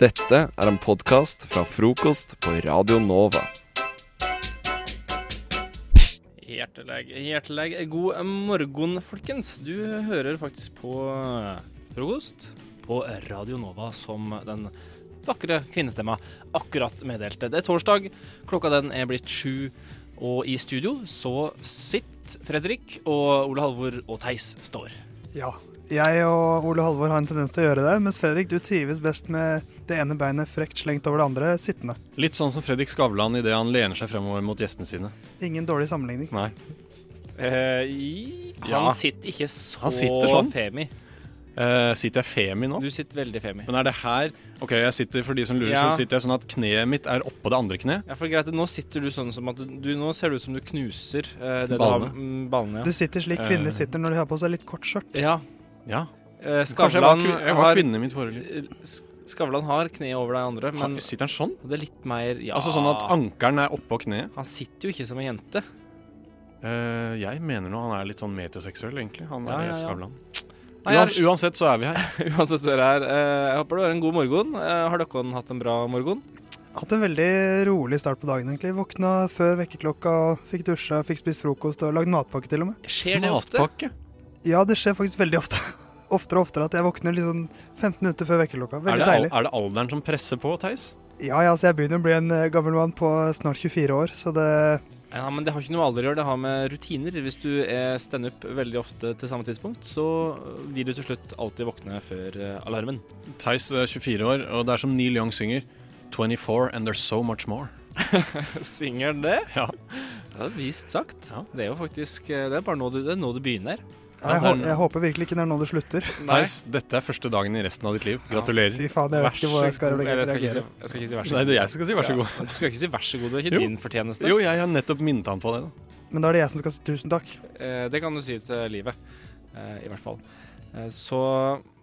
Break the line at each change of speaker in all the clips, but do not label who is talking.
Dette er en podkast fra frokost på Radio Nova.
Hjerteleg, hjerteleg god morgen, folkens. Du hører faktisk på eh, frokost på Radio Nova, som den vakre kvinnestemma akkurat meddelte. Det er torsdag, klokka den er blitt sju, og i studio så sitter Fredrik og Ole Halvor og Theis står.
Ja. Jeg og Ole Halvor har en tendens til å gjøre det, mens Fredrik, du trives best med det ene beinet frekt slengt over det andre, sittende.
Litt sånn som Fredrik Skavlan idet han lener seg fremover mot gjestene sine.
Ingen dårlig sammenligning.
Nei.
Han
Eh, Ja.
sitter ikke så
Han sitter sånn.
femi.
Eh, sitter jeg femi nå?
Du sitter veldig femi.
Men er det her OK, jeg sitter for de som lurer,
Ja.
så sitter jeg sånn at kneet mitt er oppå det andre kneet.
Ja, for greit, Nå sitter du sånn som at du, du Nå ser du ut som du knuser eh, det
Ballene.
du har mm, ballene.
Du sitter slik kvinner
Eh.
sitter når de har på seg litt kort skjørt.
Ja. ja.
Ja.
Eh,
Kanskje jeg var,
Skavlan
kvi- jeg var
har eh,
kvinne i mitt forrige liv.
Skavlan har kneet over de andre, men
Har- Sitter han sånn?
det er litt mer ja.
Altså sånn at ankelen er oppå kneet?
Han sitter jo ikke som ei jente.
Eh, jeg mener nå han er litt sånn metroseksuell, egentlig. Han
Ja,
er
ja, ja.
Skavlan.
Nei, jeg-
Uans- Uansett så er vi her.
Uansett så er det her. Eh, Jeg håper du har en god morgen. Eh, Har dere hatt en bra morgen?
Hatt en veldig rolig start på dagen, egentlig. Våkna før vekkerklokka, fikk dusja, fikk spist frokost og lagd matpakke til og med.
Skjer det ofte?
Matpakke.
Ja, det skjer faktisk veldig ofte. Oftere og oftere at jeg våkner litt sånn 15 minutter før vekkerklokka.
Er
Veldig
det, al
deilig.
er det alderen som presser på, Theis?
Ja, ja, så jeg begynner å bli en eh, gammel mann på snart 24 år, så det
Ja, men Det har ikke noe med alder å gjøre, det har med rutiner. Hvis du er standup veldig ofte til samme tidspunkt, så vil du til slutt alltid våkne før eh, alarmen.
Theis er 24 år, og det er som Neil Young synger 24 and there's so much more.
Synger det?
Ja.
Det er vist sagt.
Ja.
Det er jo faktisk eh, Det er bare nå du, det er nå du begynner.
Jeg,
det er-
hå- jeg håper virkelig ikke det er nå det slutter.
Theis, dette er første dagen i resten av ditt liv. Gratulerer.
Fy faen, jeg vet ikke hvor jeg skal
Eller, jeg, skal ikke si,
reagere.
jeg skal ikke si vær så
Nei,
god.
det er jeg som skal si vær så god.
Du skal ikke si vær så god, det er
Jo.
ikke din fortjeneste.
Jo, jeg har nettopp minnet han på det. da.
Men da er det jeg som skal si tusen takk.
Eh, det kan du si til livet, eh, i hvert fall. Eh, så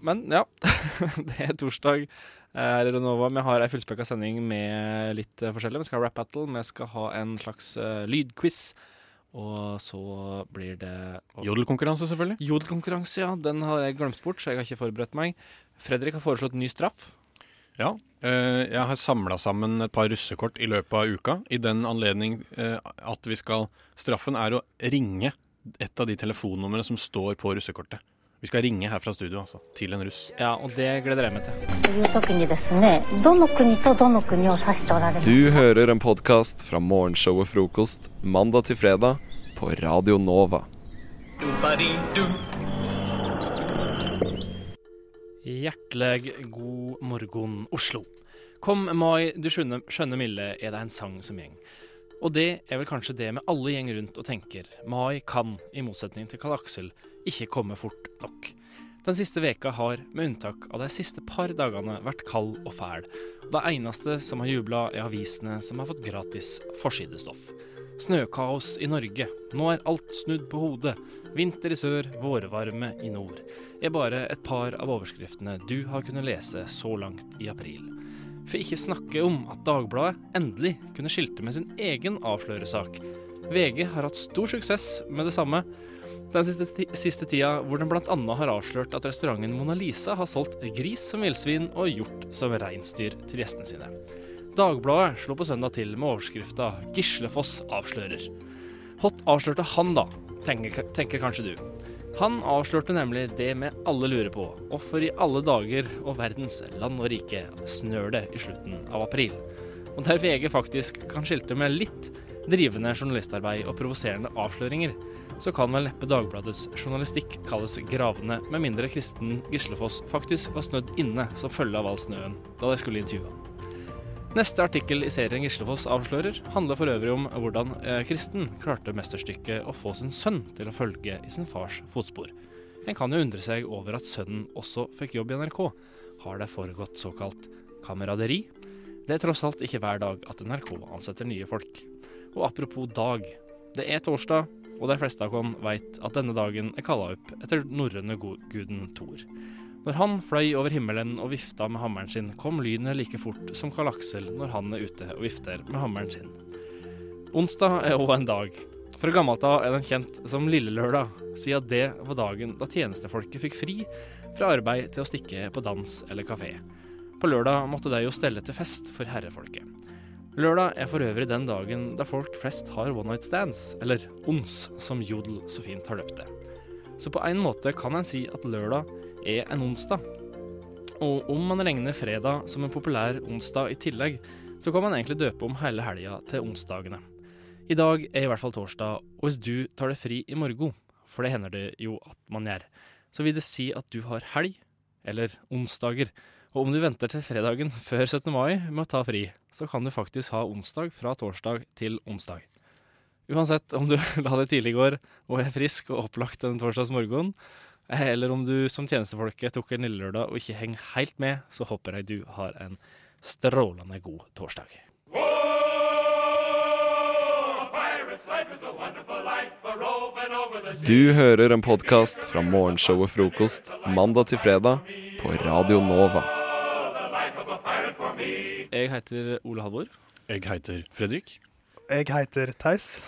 Men ja, det er torsdag. Eh, Renova, Vi har ei fullspekka sending med litt eh, forskjellig. Vi skal ha rap battle, vi skal ha en slags eh, lydquiz. Og så blir det
Jodelkonkurranse, selvfølgelig.
Jodelkonkurranse, ja. Den har jeg glemt bort, så jeg har ikke forberedt meg. Fredrik har foreslått ny straff.
Ja. Eh, jeg har samla sammen et par russekort i løpet av uka, i den anledning eh, at vi skal Straffen er å ringe et av de telefonnumrene som står på russekortet. Vi skal ringe her fra studio, altså. Til en russ.
Ja, og det gleder jeg meg til.
という時にですねどの国とどの国を指しておられる
Du hører en podkast fra morgenshowet Frokost mandag til fredag på Radio Nova.
Hjertelig god morgen, Oslo. Kom mai, du skjønne, skjønne milde, er det en sang som gjeng. Og det er vel kanskje det med alle gjeng rundt og tenker. Mai kan, i motsetning til Karl Aksel, ikke komme fort nok. Den siste veka har, med unntak av de siste par dagene, vært kald og fæl. Og det eneste som har jubla, er avisene som har fått gratis forsidestoff. Snøkaos i Norge. Nå er alt snudd på hodet. Vinter i sør, vårvarme i nord er bare et par av overskriftene du har kunnet lese så langt i april. For ikke snakke om at Dagbladet endelig kunne skilte med sin egen avsløresak. VG har hatt stor suksess med det samme den siste, ti siste tida, hvor den bl.a. har avslørt at restauranten Mona Lisa har solgt gris som villsvin og hjort som reinsdyr til gjestene sine. Dagbladet slo på søndag til med overskrifta 'Gislefoss avslører'. Hot avslørte han, da, tenker, tenker kanskje du. Han avslørte nemlig det med alle lurer på. Hvorfor i alle dager og verdens land og rike snør det i slutten av april? Og der VG faktisk kan skilte med litt drivende journalistarbeid og provoserende avsløringer, så kan vel neppe Dagbladets journalistikk kalles gravende, med mindre Kristen Gislefoss faktisk var snødd inne som følge av all snøen da de skulle intervjue ham. Neste artikkel i serien Gislefoss avslører handler for øvrig om hvordan eh, Kristen klarte mesterstykket å få sin sønn til å følge i sin fars fotspor. En kan jo undre seg over at sønnen også fikk jobb i NRK. Har det foregått såkalt kameraderi? Det er tross alt ikke hver dag at NRK ansetter nye folk. Og apropos dag. Det er torsdag, og de fleste av oss veit at denne dagen er kalla opp etter norrøne go- guden Thor. Når han fløy over himmelen og vifta med hammeren sin, kom lynet like fort som Karl Aksel når han er ute og vifter med hammeren sin. Onsdag er òg en dag. Fra gammelt av er den kjent som Lillelørdag, siden det var dagen da tjenestefolket fikk fri fra arbeid til å stikke på dans eller kafé. På lørdag måtte de jo stelle til fest for herrefolket. Lørdag er for øvrig den dagen da folk flest har one night stands, eller ons, som Jodel så fint har løpt det. Så på en måte kan en si at lørdag er en onsdag. Og om man regner fredag som en populær onsdag i tillegg, så kan man egentlig døpe om hele helga til onsdagene. I dag er i hvert fall torsdag, og hvis du tar deg fri i morgen, for det hender det jo at man gjør, så vil det si at du har helg, eller onsdager. Og om du venter til fredagen før 17. mai med å ta fri, så kan du faktisk ha onsdag fra torsdag til onsdag. Uansett om du la deg tidlig i går og er frisk og opplagt en torsdags morgen, eller om du som tjenestefolket tok en lille lørdag og ikke henger helt med, så håper jeg du har en strålende god torsdag.
Du hører en podkast fra morgenshow og frokost mandag til fredag på Radio Nova.
Jeg heter Ole Halvor,
Jeg heter Fredrik.
Jeg heter Theis.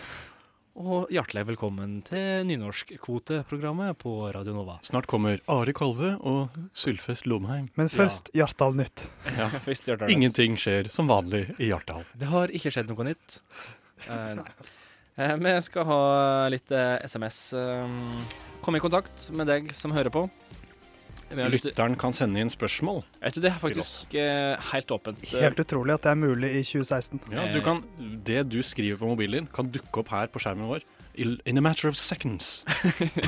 og hjertelig velkommen til nynorskkvoteprogrammet på Radio Nova.
Snart kommer Are Kolve og Sylfest Lomheim.
Men først Hjartdal Nytt.
Først Hjartdal.
Ingenting skjer som vanlig i Hjartdal.
Det har ikke skjedd noe nytt. Eh, nei. Eh, vi skal ha litt eh, SMS. eh, kom i kontakt med deg som hører på. Vi har lyst til,
Lytteren kan sende inn spørsmål.
vet du, det er faktisk eh, helt åpent.
Helt utrolig at det er mulig i 2016.
Ja,
Eh,
du kan, det du skriver på mobilen, kan dukke opp her på skjermen vår. i- In a matter of seconds.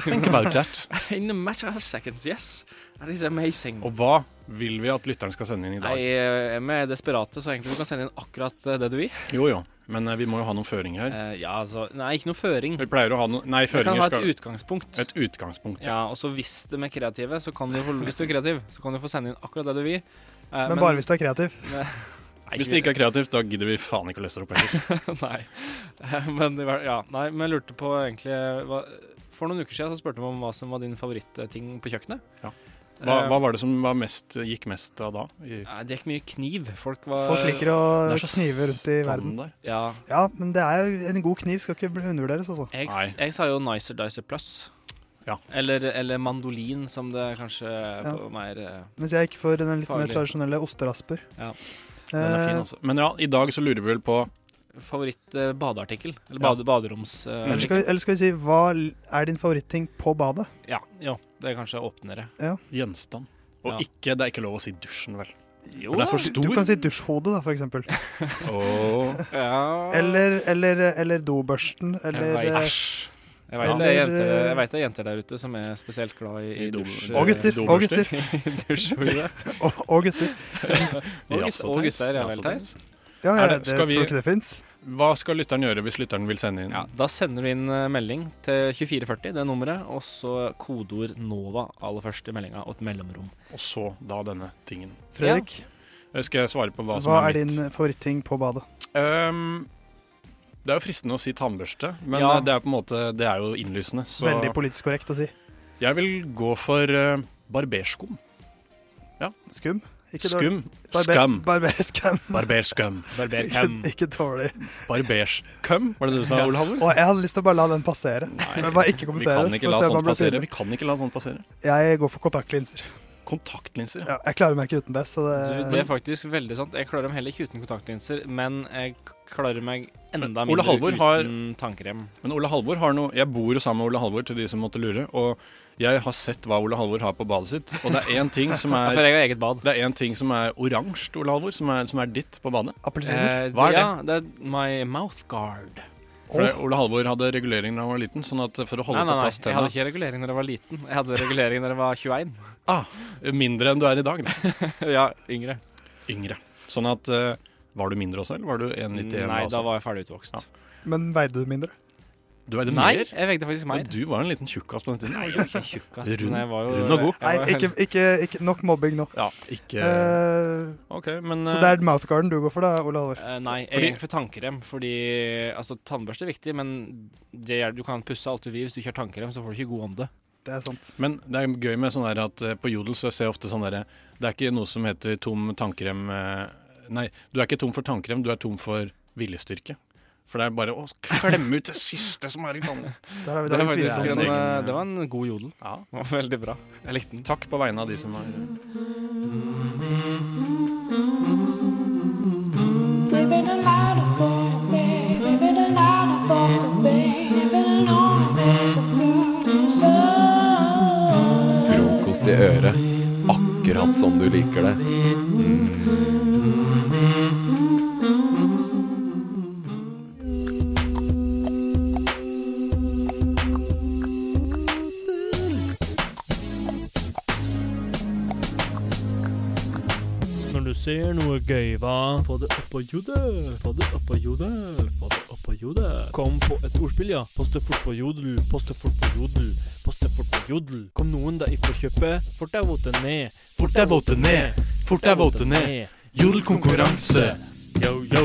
Think about that.
In a matter of seconds, yes. That is amazing.
Og hva vil vi at lytteren skal sende inn i
Nei,
dag?
eh, vi er desperate, så egentlig du kan sende inn akkurat eh, det du vil.
Jo jo, men eh, vi må jo ha noen føringer her.
Eh, ja, altså Nei, ikke noe føring.
Vi pleier å ha noen Nei,
Du kan ha
føringer
et
skal
utgangspunkt.
Et utgangspunkt. Ja.
Ja, og så hvis de er kreative, så kan du få, hvis du er kreativ, så kan du få sende inn akkurat det du vil. Eh,
Men bare hvis du er kreativ.
Nei,
Hvis det ikke er kreativt, da gidder vi faen ikke å løse det opp heller.
Nei. Eh, Men, det var- ja, nei, men jeg lurte på egentlig eh, hva, For noen uker siden så spurte vi om hva som var din favorittting på kjøkkenet.
Ja. Hva,
Eh,
hva var det som var mest, gikk mest av da? I,
nei, det gikk mye kniv. Folk var
Folk liker å
Det er så
knive rundt i verden.
standard.
Ja.
Ja, men det er jo en god kniv skal ikke bli- undervurderes, altså.
Jeg,
Nei.
jeg sa jo Nicer Dicer Plus.
Ja.
Eller, eller mandolin, som det kanskje er på mer eh,
Mens jeg gikk for den litt mer
Farlig.
tradisjonelle osterasper.
Ja.
Den er fin,
Eh,
altså. Men ja, i dag så lurer vi vel på
favoritt eh, badeartikkel. Eller
Ja.
bade, baderoms... eh,
eller, skal vi, eller skal vi si hva l- er din favoritting på badet?
ja, jo, det er kanskje åpnere.
gjenstand. Og
Ja.
ikke, det er ikke lov å si dusjen, vel.
Jo,
For det er for
Du,
stor.
du kan si dusjhodet, da, for eksempel.
Åh.
ja.
Eller, eller, eller dobørsten. Eller
Jeg vet.
eh,
Æsj.
Jeg veit
Ja.
det, er jenter-
Eller, eh,
jeg vet det er jenter der ute som er spesielt glad i, i
I do-
dusj... eh,
Og gutter. Og
Dobørster.
gutter.
Dusjhode.
Og, og gutter.
Og gutt-
Jaså,
og
Theis.
gutter, ja
Jaså,
vel, Theis?
Ja,
Er
ja,
det-
det,
skal
tror
vi-
ikke det fins.
Hva skal lytteren gjøre hvis lytteren vil sende inn?
Ja, da sender du inn eh, melding til 2440, det er nummeret, og så kodeord NOVA aller først i meldinga, og et mellomrom.
Og så da denne tingen.
Fredrik,
Eh, Skal jeg svare på hva, som
hva er
er,
din eh, favoritting på badet?
mitt? Ehm, det er jo fristende å si tannbørste, men
Ja.
eh, det er på en måte, det er jo innlysende. Så
Veldig politisk korrekt å si.
jeg vil gå for eh, barberskum.
Skum? Ikke dårlig.
Skum.
Barber-
Skam.
Barberskum.
Barberskum.
Barbercam.
Ikke, ikke dårlig.
Barberskøm, var det det du sa, Ole Halvor?
Og jeg hadde lyst til å bare la den passere. Men bare ikke
Vi
kommentere.
kan
så
ikke
får
la
se om
sånt
han blir
passere.
tydelig.
Vi kan ikke la sånt passere.
Jeg går for kontaktlinser.
Kontaktlinser.
Ja, jeg klarer meg ikke uten det, så det,
Eh,
Du, det er faktisk veldig sant. Jeg klarer meg heller ikke uten kontaktlinser, men jeg klarer meg enda
Men Ole
mindre
Halvor
uten
har-
tannkrem.
Men Ole Halvor har noe Jeg bor jo sammen med Ole Halvor, til de som måtte lure. Og jeg har sett hva Ole Halvor har på badet sitt, og det er én ting som
Ja,
er
for jeg har eget bad.
Det er én ting som er oransje, Ole Halvor, som er, som er ditt på badet.
Appelsiner?
Eh,
Hva er det?
Ja, det er my mouth guard.
For det- Ole Halvor hadde regulering da han var liten, sånn at for å holde
Nei, nei,
på
nei.
plass
Jeg hadde
tenna
ikke regulering da jeg var liten. Jeg hadde regulering da jeg var 21.
ah, Mindre enn du er i dag, da.
ja, yngre.
Yngre. Sånn at eh, Var du mindre også, eller var du 1,91
Mm, Nei, da
også?
var jeg ferdig utvokst.
altså. Ja.
Men veide du mindre?
Du veide
Nei,
mer?
jeg vekte faktisk
Men
mer.
du var en liten tjukkas på den tiden.
Jeg var ikke tjukk, ass.
Rund-
men jeg var jo
rund og god.
jeg
Nei,
var-
ikke, ikke, ikke Nok mobbing nå.
Ja, ikke
Eh,
OK, men
så
eh,
det er mouthgarden du går for, da, Ole Halvor.
Eh, nei, jeg
Fordi-
gikk for tannkrem, fordi altså, tannbørste er viktig, men det er, du kan pusse alt du vil. Hvis du ikke har tannkrem, så får du ikke god ånde.
Det er sant.
Men det er gøy med sånn der at eh, på Jodel så ser jeg ofte sånn derre Det er ikke noe som heter tom tannkrem eh, Nei, du er ikke tom for tannkrem, du er tom for viljestyrke. For det er bare å klemme ut det siste som er i tannen.
Der har vi
Det var,
dagens
faktisk
en,
visdom.
en-
eh, det var en god jodel.
Ja.
Det var veldig bra. Jeg likte den.
Takk på vegne av de som har
nærmest i øret. Akkurat som du liker det.
Når du ser noe gøy, hva? Få det opp på jodel, få det opp på jodel, få det opp på jodel. Kom på et ordspill, ja. Poste fort på jodel, poste fort på jodel, poste fort på jodel. Kom noen da i forkjøpet, fort er votet ned.
Fort er votet ned, fort er votet ned. Jodelkonkurranse.
Yo, yo.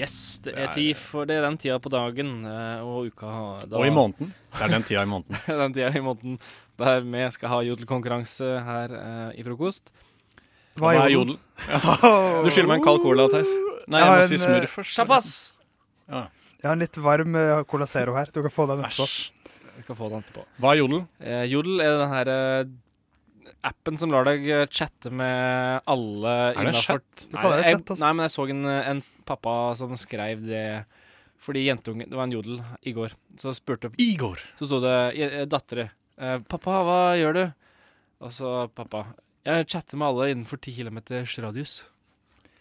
Yes, det er tid for det er den tida på dagen eh, og uka da,
Og i måneden. Det er den tida i måneden.
den tida i måneden der vi skal ha jodelkonkurranse her eh, i frokost.
Hva er jodel?
jodel? Du skylder meg en kald cola, Theis. Nei, jeg
Jeg har
må si
en, eh,
smurf først.
Sjappas!
Jeg har en litt varm eh, Cola Zero her. Du kan få den etterpå.
Æsj.
Vi skal få det etterpå.
Hva er jodel?
Eh, Jodel er den her eh, appen som lar deg eh, chatte med alle
Er det en
innenfor-
Du kaller det
Nei,
chat, altså.
Jeg, nei, men jeg så en, eh, en pappa som skrev det fordi jentungen Det var en jodel i går. Så spurte
Igor.
Så sto det eh, dattere. eh, 'Pappa, hva gjør du?' Og så pappa 'Jeg chatter med alle innenfor 10 kilometers radius'.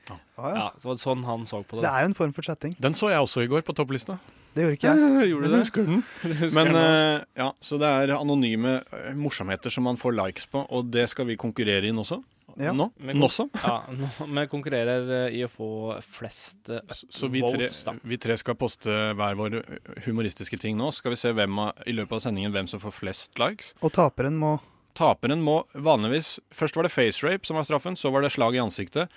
Å, ja.
Ja, så var det sånn han så på
Det
det.
er jo en form for chatting.
Den så jeg også i går på topplista.
Det gjorde ikke jeg.
Gjorde du det?
husker den.
Husker
Men
jeg nå.
eh, ja, Så det er anonyme eh, morsomheter som man får likes på, og det skal vi konkurrere inn også.
Ja.
Nå.
Men-
Nå også.
ja, nå, vi konkurrerer eh, i å få flest eh,
Så vi tre,
votes, da.
vi tre skal poste hver våre humoristiske ting nå. Så skal vi se hvem av, i løpet av sendingen hvem som får flest likes.
Og taperen må
Taperen må vanligvis Først var det face rape som var straffen, så var det slag i ansiktet.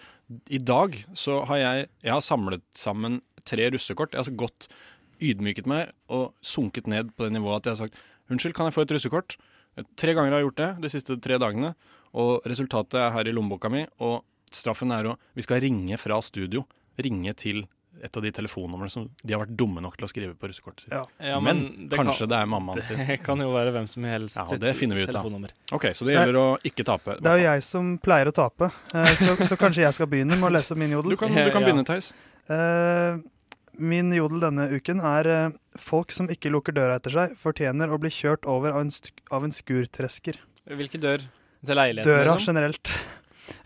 I dag så har jeg, jeg har samlet sammen tre russekort. Jeg har så godt ydmyket meg og sunket ned på det nivået at jeg har sagt unnskyld, kan jeg få et russekort? Tre ganger har jeg gjort det de siste tre dagene, og resultatet er her i lommeboka mi. Og straffen er å Vi skal ringe fra studio. Ringe til et av de telefonnumrene som de har vært dumme nok til å skrive på russekortet sitt.
Ja.
Ja,
men
det kan-
kanskje det er mammaen sin.
Det kan jo være hvem som helst
Ja,
sitt
det finner vi ut av.
telefonnummer.
OK, så det gjelder å ikke tape.
Det er jo jeg som pleier å tape, eh, så, så kanskje jeg skal begynne med å lese min jodel.
Du kan, du kan
Ja.
begynne, Theis.
Eh, min jodel denne uken er eh, folk som ikke lukker døra etter seg, fortjener å bli kjørt over av en, sk av en skurtresker.
Hvilke dør? Til leiligheten?
Døra
liksom?
generelt.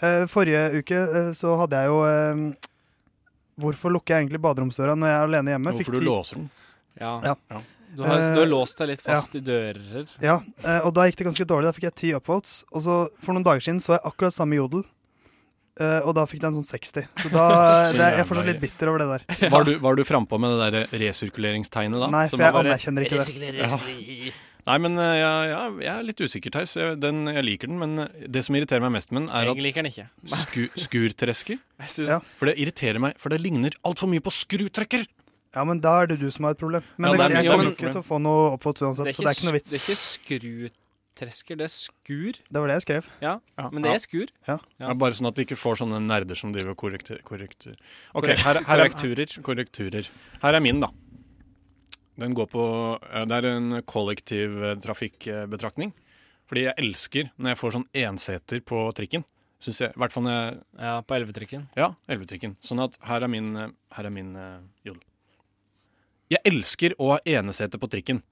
Eh, forrige uke eh, så hadde jeg jo eh, Hvorfor lukker jeg egentlig baderomsdøra når jeg er alene hjemme? Fikk
Hvorfor du
ti-
låser den?
Ja.
Ja.
Ja.
Du, har,
Eh,
du har låst deg litt fast i dører.
Ja, eh, og da gikk det ganske dårlig. Da fikk jeg ti upvotes. Og så for noen dager siden så jeg akkurat samme jodel, eh, og da fikk den sånn 60. Så da det, er- Jeg er fortsatt litt bitter over det der.
Var du, var du frampå med det der resirkuleringstegnet da?
Nei,
Som
for jeg
var-
anerkjenner ikke det.
Nei, men eh, jeg, jeg, jeg er litt usikker, Theis. Jeg, den- jeg liker den, men eh, det som irriterer meg mest med den, er
Jeg
at
liker den ikke.
sku, skurtresker
Jeg synes,
Ja.
For det irriterer meg, for det ligner altfor mye på skrutrekker!
Ja, men da er det du som har et problem. Men
Ja,
det,
det
jeg
er mitt
kommer
problem.
ikke til å få noe upvotes uansett, så det er ikke noe
sk- Det er ikke
vits.
skrutresker, det er skur.
Det var det jeg skrev.
Men det er skur.
Ja, bare sånn at de ikke får sånne nerder som driver og korrekter... korrekter. Ok,
Korrekt-
her, her, er,
Korrekturer.
korrekturer. Her er min, da. Den går på eh, Det er en kollektiv eh, trafikkbetraktning. Fordi jeg elsker når jeg får sånn enseter på trikken. Synes jeg, I hvert fall når jeg
Ja, på elvetrikken.
Ja, elvetrikken. Sånn at her er min, eh, her er min eh, jodel. Jeg elsker å ha enesete på trikken.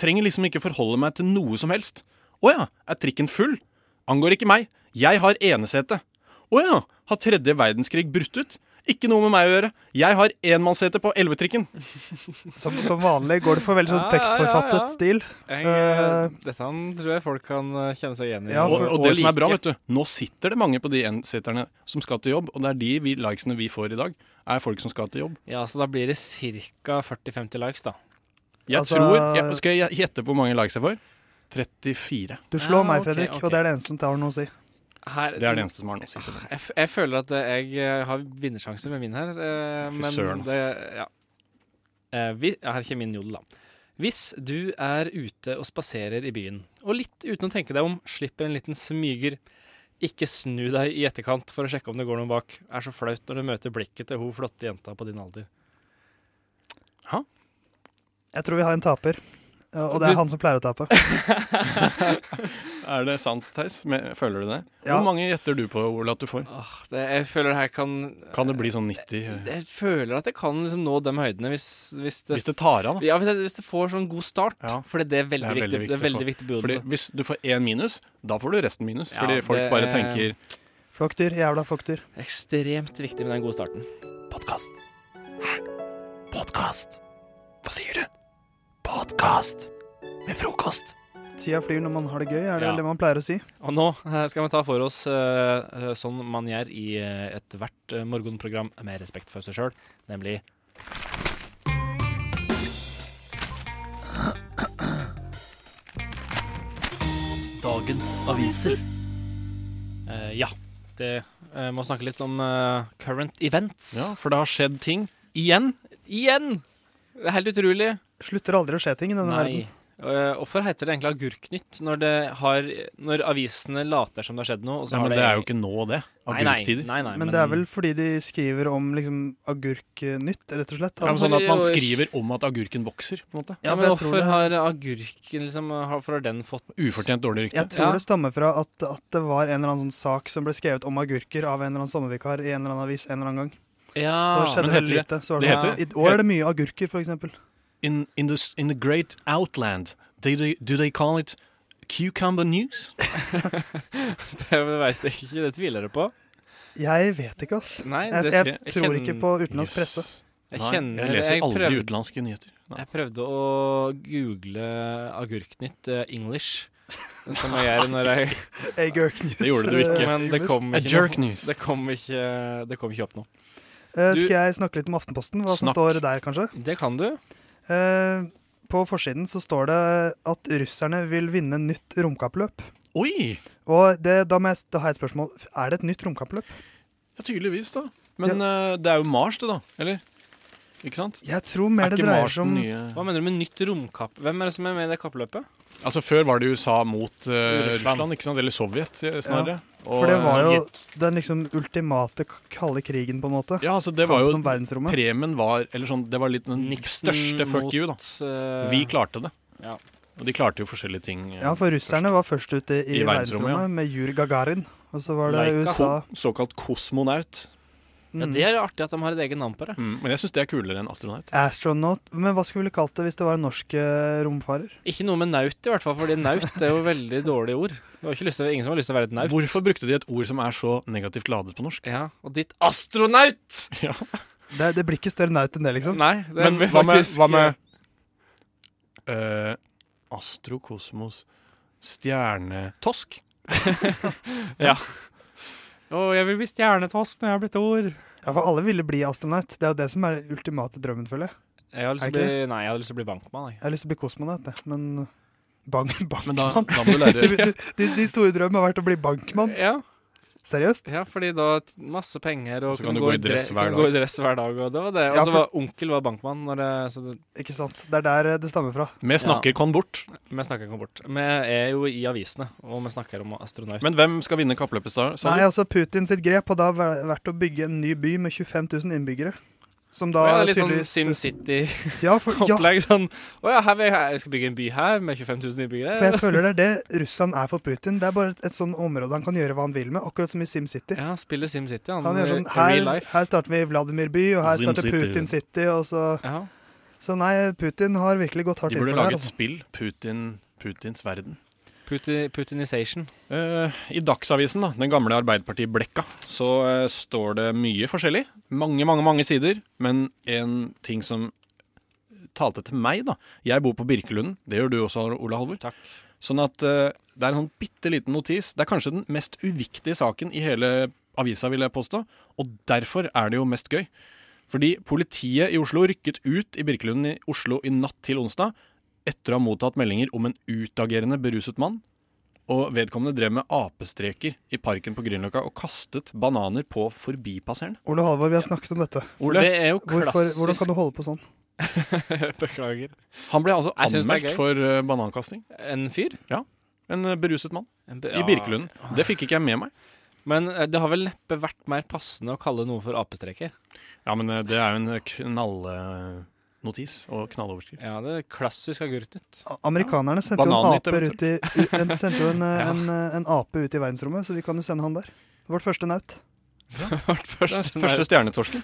Trenger liksom ikke forholde meg til noe som helst. Å ja, er trikken full? Angår ikke meg. Jeg har enesete. Å ja, har tredje verdenskrig brutt ut? Ikke noe med meg å gjøre. Jeg har enmannssete på elvetrikken.
Som, som vanlig går det for veldig sånn
Ja, ja, ja, ja.
tekstforfattet stil.
Jeg,
Eh,
dette han tror jeg folk kan eh, kjenne seg igjen i.
Ja,
Og,
for-
og det som er bra,
like.
vet du, nå sitter det mange på de enseterne som skal til jobb, og det er de vi, likesene vi får i dag, er folk som skal til jobb.
Ja, så da blir det ca. 40-50 likes, da.
Jeg
Altså-
tror jeg, Skal jeg gjette hvor mange likes jeg får? 34.
Du
Ja,
slår meg,
Ah, ok,
Fredrik,
ok.
og det er det eneste som tar noe å si.
Her,
Det er det eneste som har noe å si. for meg.
Jeg, f jeg føler at eh, jeg eh, har vinnersjanse med min her, eh,
Fy søren,
men
ass.
det ja. Eh, vi, ja, Her kommer min jodel, da. Hvis du er ute og spaserer i byen, og litt uten å tenke deg om, slipper en liten smyger. Ikke snu deg i etterkant for å sjekke om det går noen bak. Er så flaut når du møter blikket til hun flotte jenta på din alder.
Jeg tror vi har en taper. Ja, og det er
Du-
han som pleier å tape.
Er det sant, Theis? Men- Føler du det?
Ja.
Hvor mange gjetter du på, Ole, at du får?
Åh, det, jeg føler det her kan
Kan det bli sånn 90? eh,
Jeg føler at jeg kan liksom nå de høydene hvis, hvis det
Hvis det tar av, da.
Ja, hvis, jeg, hvis det får sånn god start.
Ja.
For det er veldig,
Det er
viktig.
veldig
Det er
viktig
veldig viktig
Fordi
budrunde.
Hvis du får én minus, da får du resten minus.
Ja,
fordi folk
det
bare
er-
tenker
Flokkdyr, jævla flokkdyr.
Ekstremt viktig med den gode starten.
Podkast. Hæ? Podkast? Hva sier du? Podkast med frokost.
Tida flyr når man har det gøy, er det
Ja.
vel det man pleier å si.
Og nå eh, skal vi ta for oss, eh, eh, som man gjør i eh, ethvert eh, morgenprogram med respekt for seg sjøl, nemlig Dagens aviser. ja. Det eh, må snakke litt om eh, current events.
Ja, for det har skjedd ting.
Igjen! Igjen! Det er helt utrolig.
Slutter aldri å skje ting i denne verden.
Eh, Hvorfor heter det egentlig Agurknytt når, det har, når avisene later som det har skjedd noe? Og så
Ja,
har
men det er jo ikke nå, det.
Nei, nei,
Agurktider.
Nei, nei,
Men det er vel fordi de skriver om liksom, agurknytt, rett og slett.
Ja, men
At,
sånn at man skriver om at agurken vokser. på en måte.
ja,
Ja, for
men
jeg tror
Hvorfor
det-
har agurken liksom, Hvorfor har den fått
Ufortjent dårlig rykte.
jeg tror
Ja.
det stammer fra at, at det var en eller annen sånn sak som ble skrevet om agurker av en eller annen sommervikar i en eller annen avis en eller annen gang.
Ja,
Da skjedde
Ah. men
veldig
heter
lite. Så var
det
det
heter-
sånn, I år er det mye agurker, for eksempel.
In, in, the, s- in the great outland, do they, do they call it cucumber news?
det veit jeg ikke. Det tviler jeg på.
Jeg vet ikke, ass.
Nei,
Jeg,
det,
jeg,
jeg
tror
kjenner-
ikke på utenlandsk presse.
Jeg
Nei,
kjenner-
jeg leser
jeg
aldri
prøvde-
utenlandske nyheter. Nei.
jeg prøvde å google Agurknytt eh, English, som jeg gjør når jeg
Agurknews.
Det gjorde du ikke.
Men det kom
A
ikke
jerk
noe.
news.
Det kom ikke, det kom ikke opp noe.
Eh,
Du-
skal jeg snakke litt om Aftenposten? Hva som
Snakk.
står der, kanskje?
Det kan du.
Eh, på forsiden så står det at russerne vil vinne nytt romkappløp.
Oi!
Og det, da, må jeg, da har jeg et spørsmål. Er det et nytt romkappløp?
Ja, tydeligvis, da. Men eh, det er jo Mars, det, da. Eller? Ikke sant?
Jeg tror mer
er
det
ikke
dreier
Mars
seg om
den nye
Hva mener du med nytt romkapp? Hvem er det som er med i det kappløpet?
Altså, før var det USA mot eh,
Russland.
Russland, ikke sant? Eller Sovjet, eh, snarere.
For det var jo
Sovjet.
den liksom ultimate k- kalde krigen, på en måte.
Ja, altså, det var jo
Kampen om verdensrommet.
Premien var Eller sånn, det var litt den
Nixon
største fuck you, da.
eh,
Vi klarte det.
Ja.
Og de klarte jo forskjellige ting. eh,
Ja, for russerne var først ute i,
I verdensrommet,
verdensrommet
ja.
med Jur Gagarin. Og så var det
Leica.
USA.
ko- Såkalt kosmonaut.
Ja,
Mm.
Det er artig at de har et eget navn på det.
Mm, men jeg syns det er kulere enn astronaut.
Astronaut. Men hva skulle vi kalt det hvis det var en norsk eh, romfarer?
Ikke noe med naut, i hvert fall, fordi naut er jo veldig dårlig ord. Du har ikke lyst til, ingen som har lyst til å være et naut.
Hvorfor brukte de et ord som er så negativt ladet på norsk?
Ja, Og ditt astronaut!
Det, det blir ikke større naut enn det, liksom.
Nei, det
Men
blir
hva med,
faktisk-
hva med eh, Astro, kosmos, stjernetosk?
Å, jeg vil bli stjernetoss når jeg har blitt ord.
Ja, For alle ville bli astronaut. Det er jo det som er den ultimate drømmen, føler jeg.
Jeg har lyst
Er
til å bli, nei, jeg har lyst til å bli bankmann. Jeg.
Jeg har lyst til å bli kosmonaut, jeg, men bank,
Men da,
bankmann
da må du lære
du, du, de, de store drømmene har vært å bli bankmann.
Ja,
Seriøst?
ja, fordi da t- masse penger og
Så kan du gå i dress hver
kan
dag.
Gå i dress hver dag og det var det. Og
Ja,
så
for-
var onkel var bankmann. Når det, så det,
Ikke sant? Det er der eh, det stammer fra.
Vi snakker kon bort.
vi snakker ikke om bort. Vi er jo i avisene, og vi snakker om astronaut.
Men hvem skal vinne kappløpet, sa sa
Nei,
du?
altså Putin sitt grep har da væ- vært å bygge en ny by med 25 000 innbyggere. Som da
ja, litt sånn
tydeligvis
SimCity-opplegg.
ja, for, ja,
Sånn Å ja, her vil jeg, jeg skal bygge en by her med 25 000
for jeg
innbyggere.
føler det er det Russland er for Putin. Det er bare et, et sånn område han kan gjøre hva han vil med, akkurat som i SimCity.
Ja, spiller SimCity. Han,
Han gjør sånn
i
her,
real life.
her starter vi i Vladimir by, og her starter
SimCity.
Putin City, og så
Ja.
Så nei, Putin har virkelig gått hardt
De
inn for
burde
det.
lage
her,
et spill. Putin, Putins verden.
Puti, Putinization.
Eh, I Dagsavisen, da, den gamle Arbeiderparti-blekka, så eh, står det mye forskjellig. Mange, mange mange sider. Men en ting som talte til meg, da. Jeg bor på Birkelunden. Det gjør du også, Ola Halvor.
Takk.
Sånn at eh, det er en sånn bitte liten notis. Det er kanskje den mest uviktige saken i hele avisa, vil jeg påstå. Og derfor er det jo mest gøy. Fordi politiet i Oslo rykket ut i Birkelunden i Oslo i natt til onsdag etter å ha mottatt meldinger om en utagerende beruset mann. Og vedkommende drev med apestreker i parken på Grünerløkka og kastet bananer på forbipasserende.
altså. Ole Halvor, vi har snakket om dette.
Ole,
Det er jo
Hvorfor, hvordan
klassisk
kan du holde på sånn?
Beklager.
han ble altså
Jeg synes det er
anmeldt
gøy.
for eh, banankasting.
En fyr?
En eh, beruset mann
En be-
i
ja.
Birkelunden. Det fikk ikke jeg med meg.
Men eh, det har vel neppe vært mer passende å kalle noe for apestreker.
Ja, men eh, det er jo en knallgreie. notis eh, og knalloverskrift.
Ja, det er klassisk Agurtnytt.
A- Amerikanerne sendte jo en
Banannytt,
ape
vet
ut i, u- en, sendte jo en, eh,
Ja.
en, eh, en ape ut i verdensrommet, så vi kan jo sende han der. Vårt første naut.
Første, første stjernetorsken.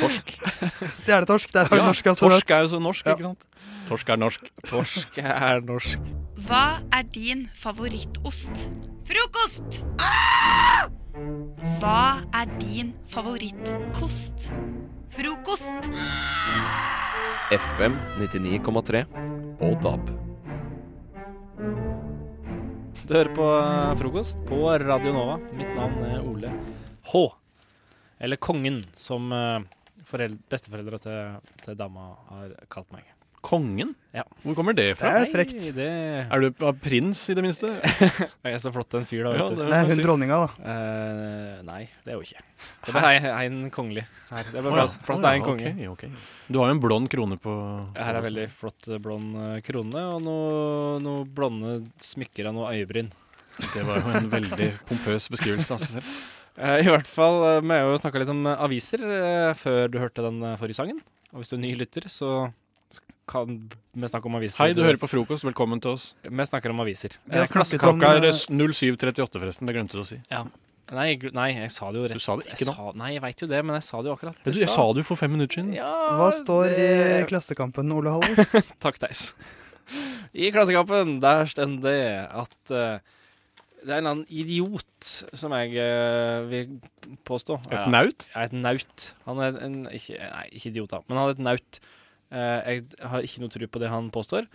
Torsk.
Stjernetorsk. Der har vi
Ja,
norsk astronaut.
torsk er jo så norsk,
Ja.
ikke sant? Torsk er norsk.
Torsk er norsk.
Hva er din favorittost? Frokost! Hva er din favorittkost? Frokost!
FM 99,3 og DAB.
Du hører på eh, frokost på Radio Nova. Mitt navn er Ole H. Eller Kongen, som eh, foreld- besteforeldra til, til dama har kalt meg.
Kongen?
Ja.
Hvor kommer det
Det
fra?
er frekt.
Nei, det
Er du av prins, i det minste?
Jeg er så flott en fyr, da.
Ja,
Vet du.
det
Det er
må jeg
hun
si.
dronninga, da.
Eh, nei, det er jo ikke. Det er bare ei- en kongelig her. Det er bare
Å ja,
plass, plass
å
til
ja,
en konge.
ok, ok. Du har jo en blond krone på
Her er veldig flott eh, blond eh, krone og noe, noe blonde smykker og noe øyebryn.
Det var jo en veldig pompøs beskrivelse altså. av seg selv.
Eh, I hvert fall, eh, vi har jo snakka litt om eh, aviser eh, før du hørte den eh, forrige sangen. Og hvis du er ny lytter, så s- kan vi snakke om aviser.
Hei, du hører på frokost. Velkommen til oss.
Vi snakker om aviser.
Vi har
Eh,
snakket
Klassekamp-
om-
Klokka er 07.38, forresten. Det glemte du å si.
Nei, jeg gl- nei, jeg sa det jo rett.
Du sa det ikke
Jeg
nå.
sa- Nei, jeg veit jo det, men jeg sa det jo akkurat.
Men du,
i
jeg sa
stad.
det jo for fem minutter siden.
ja,
Hva står i
det-
Klassekampen, Ole Halle?
Takk, Theis. I Klassekampen der står det at eh, det er en eller annen idiot som jeg eh, vil påstå
Et
er-
naut?
er et naut. Han er en ikke, Nei, ikke idiot, da, men han er et naut. Eh, jeg har ikke noe tro på det han påstår.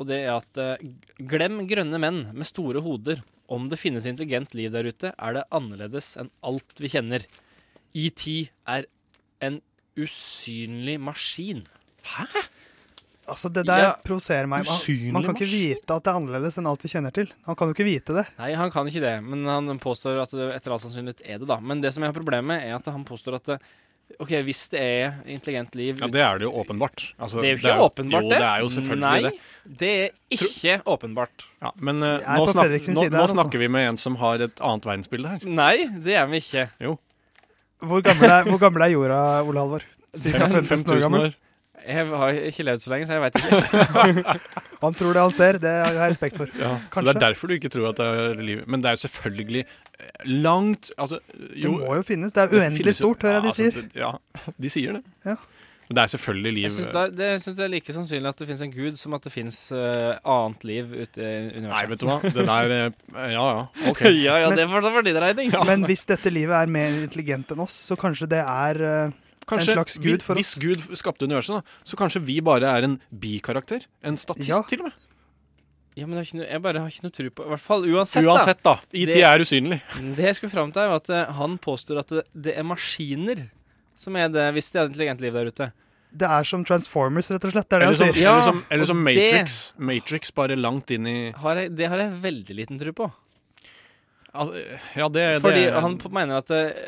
Og det er at eh, glem grønne menn med store hoder. Om det finnes intelligent liv der ute, er det annerledes enn alt vi kjenner. ET er en usynlig maskin.
Altså, Det der
Ja.
provoserer meg. Man,
Usynlig
man kan ikke
maskin.
vite at det er annerledes enn alt vi kjenner til. Han kan jo ikke vite det.
Nei, han kan ikke det, men han påstår at det etter all sannsynlighet er det, da. Men det som jeg har problemet med, er at han påstår at det, OK, hvis det er intelligent liv
Ja, Det er det jo åpenbart. Altså,
Det er jo ikke åpenbart,
jo,
det.
det. er jo selvfølgelig
Nei,
det.
det er ikke åpenbart.
Ja, men eh,
Jeg er
nå,
på
snak
Fredriksens
nå,
side
nå
her, altså.
snakker vi med en som har et annet verdensbilde her.
Nei, det er vi ikke.
Hvor gammel er, hvor gammel er jorda, Ole Halvor? Cirka 5000 år gammel.
Jeg har ikke levd så lenge, så jeg veit ikke.
Han tror det han ser, det har jeg respekt for.
Ja, så det
Kanskje.
er derfor du ikke tror at det er liv. Men det er jo selvfølgelig eh, langt altså,
Det
jo,
må jo finnes. Det er uendelig
finnes jo-
stort, hører jeg de
Ja,
sier.
altså, det- ja, de sier det.
Ja.
Men det er selvfølgelig liv.
Jeg syns det, er- det, jeg synes det er like sannsynlig at det fins en gud som at det fins annet liv ute i universet.
Nei, vet du hva. Det der eh, Ja ja, OK.
ja, ja,
Men-
det var da var din regning.
Men hvis dette livet er mer intelligent enn oss, så kanskje det er eh,
Kanskje
En slags gud
vi-
for
Hvis Gud skapte universet, da, så kanskje vi bare er en bikarakter? En statist,
Ja.
til og med.
Ja, men jeg, har ikke noe, jeg bare har ikke noe tro på I hvert fall uansett, da.
Uansett, da. IT
Det-
er usynlig.
Det jeg skulle fram til, er at eh, han påstår at det, det er maskiner som er det, hvis det er et intelligent liv der ute.
Det er som Transformers, rett og slett. Det er det
Eller
han
som,
sier.
Ja,
eller som, eller som
og det-
Matrix. Matrix bare langt inn i
Har jeg, det har jeg veldig liten tro på.
Al- Ja, det,
Fordi
det
han p- mener at eh,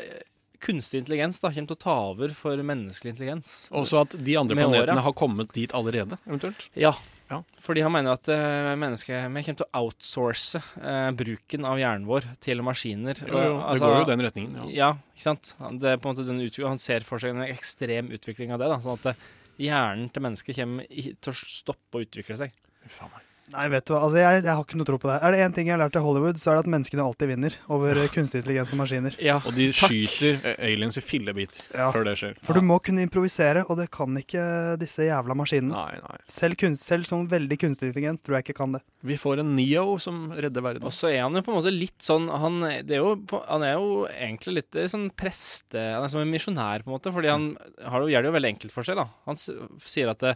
kunstig intelligens da kommer til å ta over for menneskelig intelligens.
Også at de andre
Med
planetene
åra.
har kommet dit allerede, eventuelt.
Ja.
Ja.
Fordi han mener at eh, mennesket Vi kommer til å outsource eh, bruken av hjernen vår til maskiner.
Jo, jo,
Og,
det går jo i den retningen. Ja.
Eh, altså, Ja. ikke sant? Han- Det er på en måte den utvikling- Han ser for seg en ekstrem utvikling av det. da Sånn at eh, hjernen til mennesket kommer i- til å stoppe å utvikle seg.
Faen meg.
Nei, vet du hva. Altså, jeg, jeg har ikke noe tro på det. Er det én ting jeg har lært i Hollywood, så er det at menneskene alltid vinner over eh, kunstig intelligens og maskiner.
Ja.
Og de skyter eh, aliens i fillebiter
Ja.
før det skjer.
For du må kunne improvisere, og det kan ikke disse jævla maskinene.
Nei, nei.
Selv, kunst, selv sånn veldig kunstig intelligens tror jeg ikke kan det.
Vi får en Neo som redder verden.
Og så er han jo på en måte litt sånn Han, det er, jo, på- han er jo egentlig litt sånn preste Han er som en misjonær, på en måte, fordi han har det jo, gjør det jo veldig enkelt for seg. da Han s- sier at eh,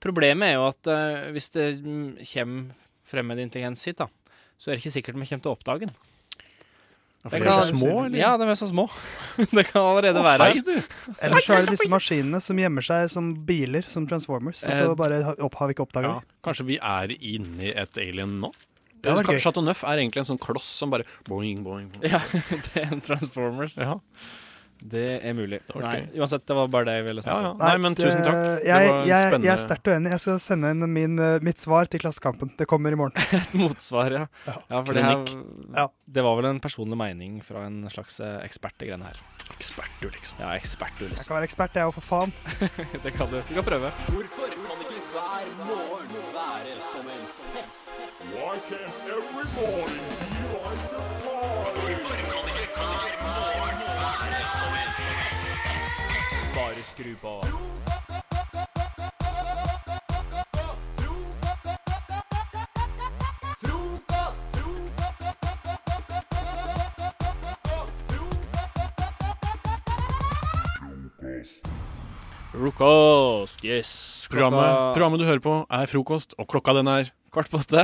problemet er jo at eh, hvis det mm, kommer fremmed intelligens hit, da så er det ikke sikkert vi kommer til å oppdage den. Det
Ja, for de er
kan-
så små, eller?
Ja, de er så små. Det kan allerede
Å,
være
hei, du.
Ellers så er det disse maskinene som gjemmer seg som biler, som Transformers, og
Eh,
så bare ha- opp, har vi ikke oppdaga
Ja,
det.
kanskje vi er inni et alien nå?
Det hadde vært gøy.
Kanskje Chateau Neuf er egentlig en sånn kloss som bare boing, boing, boing.
Ja, det er en Transformers.
Ja.
Det er mulig.
Det var
Nei,
ikke-
uansett, det var bare det jeg ville
Ja,
snakke
ja.
om.
Nei, men
det-
tusen takk. Det
eh, Jeg,
var
jeg,
en
jeg er
spennende
sterkt uenig. Jeg skal sende inn min, eh, mitt svar til Klassekampen. Det kommer i morgen.
Et motsvar, ja. ja for det, her,
Ja.
det var vel en personlig mening fra en slags eh, ekspert i greiene her.
ekspert, du, liksom.
Ja, ekspert, du,
Jeg
liksom.
kan være ekspert, jeg òg, for faen.
Det kan du. Du kan prøve. Frokost, yes. Klokka-
Programmet, programmet du hører på, er frokost, og klokka den er
Kvart på åtte.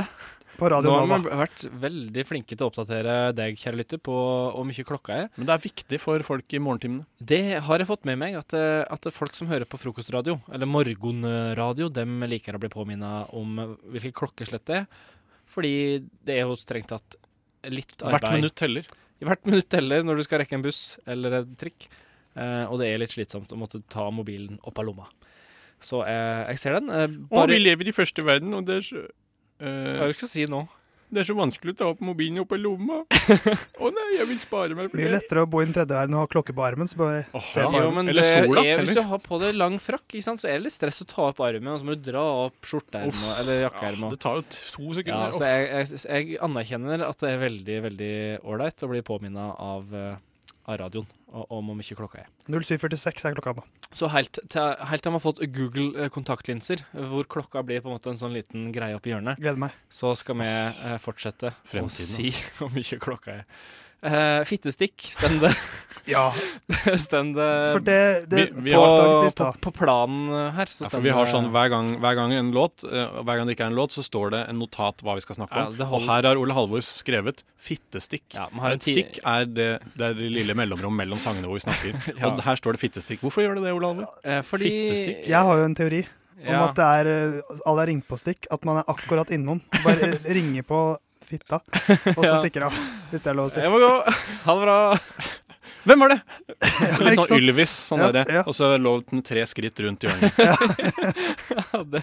På Radio
Nå har
Nova.
vi vært veldig flinke til å oppdatere deg, kjære lytter, på hvor mye klokka er.
Men det er viktig for folk i morgentimene.
Det har jeg fått med meg, at, eh, at folk som hører på frokostradio, eller morgenradio, dem liker å bli påminna om hvilket klokkeslett det er. Fordi det er jo strengt tatt litt arbeid
Hvert minutt teller.
I hvert minutt teller når du skal rekke en buss eller en trikk. Eh, og det er litt slitsomt å måtte ta mobilen opp av lomma. Så eh, jeg ser den. Eh,
Og
bare
vi lever i første verden, og det er så
Hva
eh,
er det du skal si nå?
Det er så vanskelig å ta opp mobilen opp i lomma. Å nei, jeg vil spare meg for
Mye
det.
lettere å bo i den tredje verden og ha klokke på armen. Så bare
Åh,
se
ja.
på
Jo,
armen.
men
Eller
det
sola,
er, hvis
eller?
du har på deg lang frakk, ikke sant, så er det litt stress å ta opp armen, og så må du dra opp skjorteermet eller jakkeermet.
Det tar jo to
Ja,
sekunder.
så
Åh,
jeg, jeg, jeg anerkjenner at det er veldig, veldig ålreit å bli påminna av, eh, av radioen og, om hvor mye klokka er.
07.46 er klokka nå.
Så helt til, helt til man har fått Google eh, kontaktlinser, hvor klokka blir på en måte en sånn liten greie oppi hjørnet,
Gleder meg.
så skal vi eh, fortsette å
Fremtiden, altså.
si hvor mye klokka er. Eh, fittestikk, stend det,
Ja,
stend det
for det, det
Vi- vi
på,
oppdaget vi i
på,
stad.
på planen her. Så
ja,
stend
for vi har
det-
sånn hver gang, hver gang en låt, eh, og hver gang det ikke er en låt, så står det en notat hva vi skal snakke
Ja,
om.
det
og
holder.
her har Ole Halvor skrevet 'fittestikk'.
ja, man har en
Et
ti-
stikk er det, det er det lille mellomrom mellom sangene hvor vi snakker.
Ja.
Og her står det 'fittestikk'. Hvorfor gjør det det, Ole Halvor?
eh, fordi,
Fittestikk?
Jeg har jo en teori om
Ja.
at det er eh, alle er ringpåstikk. At man er akkurat innom. Bare ringer på fitta, og så
Ja.
stikker av. Hvis det er lov å si.
Jeg må gå. Ha det bra.
Hvem var det?
Ikke
Litt
sant?
sånn Ylvis, sånn
Ja,
derre.
ja.
Og så lå den tre skritt rundt hjørnet.
det,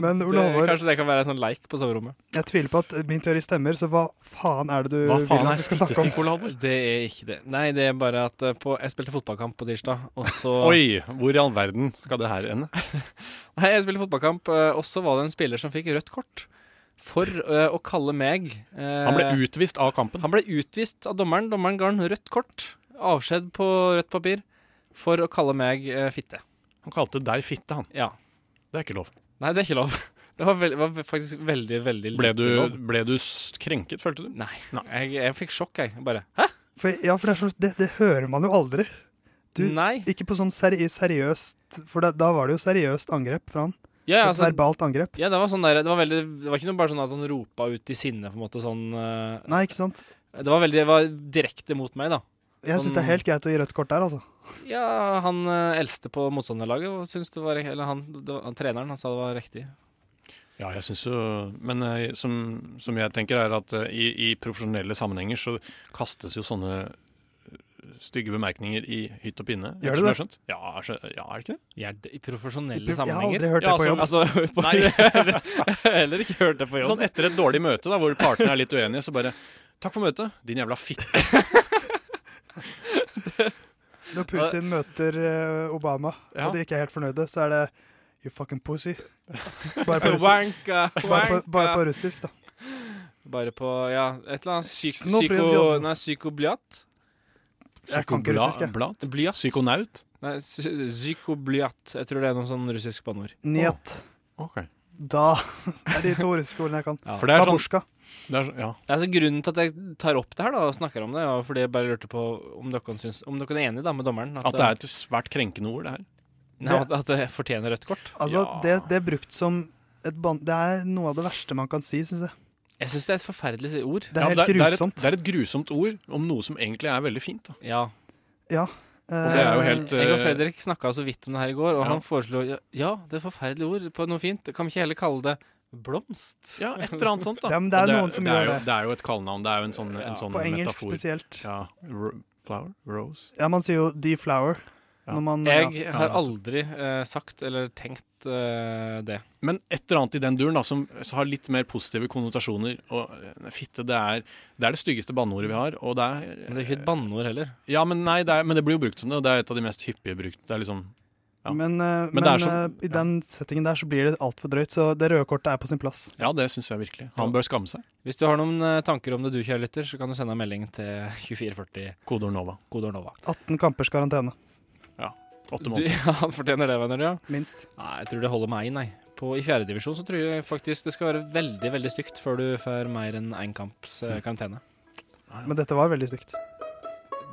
Men Ole Halvor,
kanskje det kan være en sånn leik på soverommet.
jeg tviler på at min teori stemmer, så hva faen er det du
Hva
vil
faen
at
er
vi skal snakke om?
fittestikk, Ole Halvor?
Det er ikke det. Nei, det er bare at eh, på, jeg spilte fotballkamp på tirsdag, og så
Oi, hvor i all verden skal det her ende?
Nei, jeg spilte fotballkamp, eh, og så var det en spiller som fikk rødt kort for eh, å kalle meg eh,
Han ble utvist av kampen.
han ble utvist av dommeren. Dommeren ga han rødt kort. Avskjed på rødt papir for å kalle meg eh, fitte.
Han kalte deg fitte, han.
Ja.
Det er ikke lov.
Nei, det er ikke lov. Det var, veld, var faktisk veldig, veldig lite
Ble du,
lov.
ble du s- krenket, følte du?
Nei.
Nei.
Jeg, jeg fikk sjokk, jeg. Bare Hæ?
For, ja, for det, er så, det, det hører man jo aldri. Du-
Nei.
Ikke på sånn seri seriøst For da- da var det jo seriøst angrep fra han. Et
Ja, altså,
verbalt angrep.
Ja, det var sånn der, det var, veldig, det var ikke noe bare sånn at han ropa ut i sinne, på en måte sånn eh,
Nei, ikke sant?
Det var veldig, det var direkte mot meg, da.
Jeg syns det er helt greit å gi rødt kort der, altså.
Ja, han eh, eldste på motstanderlaget og syntes det var Eller han, det var, han, treneren, han sa det var riktig.
Ja, jeg syns jo Men eh, som, som jeg tenker, er at eh, i, i profesjonelle sammenhenger så kastes jo sånne eh, stygge bemerkninger i hytt og pinne.
Gjør
etter
det
som
det?
jeg har skjønt. Ja, er skjø- ja, er det ikke det?
Ja, det- I profesjonelle
Jeg har aldri
sammenhenger.
hørt det
Ja,
på
altså,
jobb.
Altså, på,
Nei.
jeg har heller ikke hørt det på jobb.
Sånn etter et dårlig møte, da, hvor partene er litt uenige, så bare Takk for møtet, din jævla fitte.
Når Putin møter eh, Obama,
Ja.
og de ikke er helt fornøyde, så er det You fucking pussy. Bare på, russi
Wanka,
bare på,
wanka.
bare på russisk, da.
Bare på ja, et eller annet psyk,
Nå blir det
psyko...
jobb.
Nei, psykobliat?
Jeg kan ikke russisk, jeg.
Psykoblat?
Blyat?
Psykonaut?
Nei, psy- psykobliat. Jeg tror det er noe sånn russisk banneord.
Njet.
Ok.
Da. Det er de to russiske ordene jeg kan.
Ja.
For det er sånn
Babusjka.
det er, sånn- Ja.
Ja, Altså, grunnen til at jeg tar opp det her da, og snakker om det, var fordi jeg bare lurte på om dere, syns, om dere er enige da, med dommeren.
At det er et svært krenkende ord, det her.
nei, at, at det fortjener rødt kort.
Altså,
Ja.
det, det er brukt som et ban... Det er noe av det verste man kan si, syns jeg.
Jeg syns det er et forferdelig si- ord.
Det er
Ja,
helt
det er et-
grusomt.
Det er et grusomt ord om noe som egentlig er veldig fint. Da.
Ja.
Og det er jo helt
Jeg og
eh,
Fredrik snakka så vidt om det her i går, og
ja.
han foreslo ja, ja, det er et forferdelig ord på noe fint. Kan vi ikke heller kalle det blomst?
Ja, et eller annet sånt, da.
Ja, men det er
Og
noen som
det
gjør
er jo,
det.
Det er jo et kallenavn. Det er jo en sånn,
Ja,
en sånn
På Eh, engelsk
metafor.
spesielt.
Ja, r- Flower? Rose?
Ja, man sier jo deflower.
Ja.
Når man ja.
Jeg har
nettopp.
aldri eh, sagt eller tenkt eh, det.
Men et eller annet i den duren da, som som har litt mer positive konnotasjoner. Og eh, fitte, det er det, er det styggeste banneordet vi har. Og det er,
Men det er ikke et banneord heller.
ja, men, nei, det er, men det blir jo brukt som det, og det er et av de mest hyppige brukt. Det er liksom, Ja.
Men, eh,
Men det
men,
er sånn-
eh, i den settingen der så blir det altfor drøyt, så det røde kortet er på sin plass.
ja, det syns jeg virkelig. Han bør skamme seg.
Hvis du har noen eh, tanker om det du, kjære lytter, så kan du sende en melding til 2440
Kodeord Nova.
Godord Nova.
18 kampers karantene,
Du,
Åtte måneder.
ja, han fortjener det, venner. Ja.
minst.
Nei, jeg tror det holder meg inn, nei. På, I fjerdedivisjon så tror jeg faktisk det skal være veldig veldig stygt før du får mer enn én kamps
Hm.
eh, karantene.
Men dette var veldig stygt.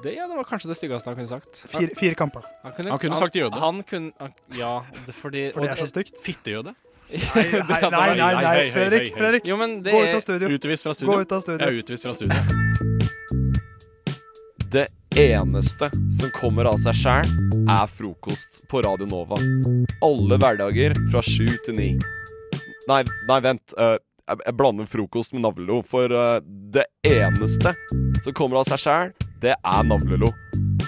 Det, ja, det var kanskje det styggeste han kunne sagt.
Fire, fire kamper.
Han kunne,
Han kunne sagt jøde.
Han kunne, han, ja, det, fordi,
For det er så stygt.
Fittejøde.
Nei, nei,
hadde
nei,
vært-
nei,
Hei, hei, hei,
Fredrik.
hei.
Fredrik,
Jo, men det
gå ut
er
av studio.
Utvist fra
Gå
studio.
ut av
Jeg
studio.
er utvist fra studio.
Det eneste som kommer av seg sjæl, er frokost på Radio Nova. Alle hverdager fra sju til ni. Nei, nei, vent. eh, jeg, jeg blander frokost med navlelo, for eh, det eneste som kommer av seg sjæl, det er navlelo.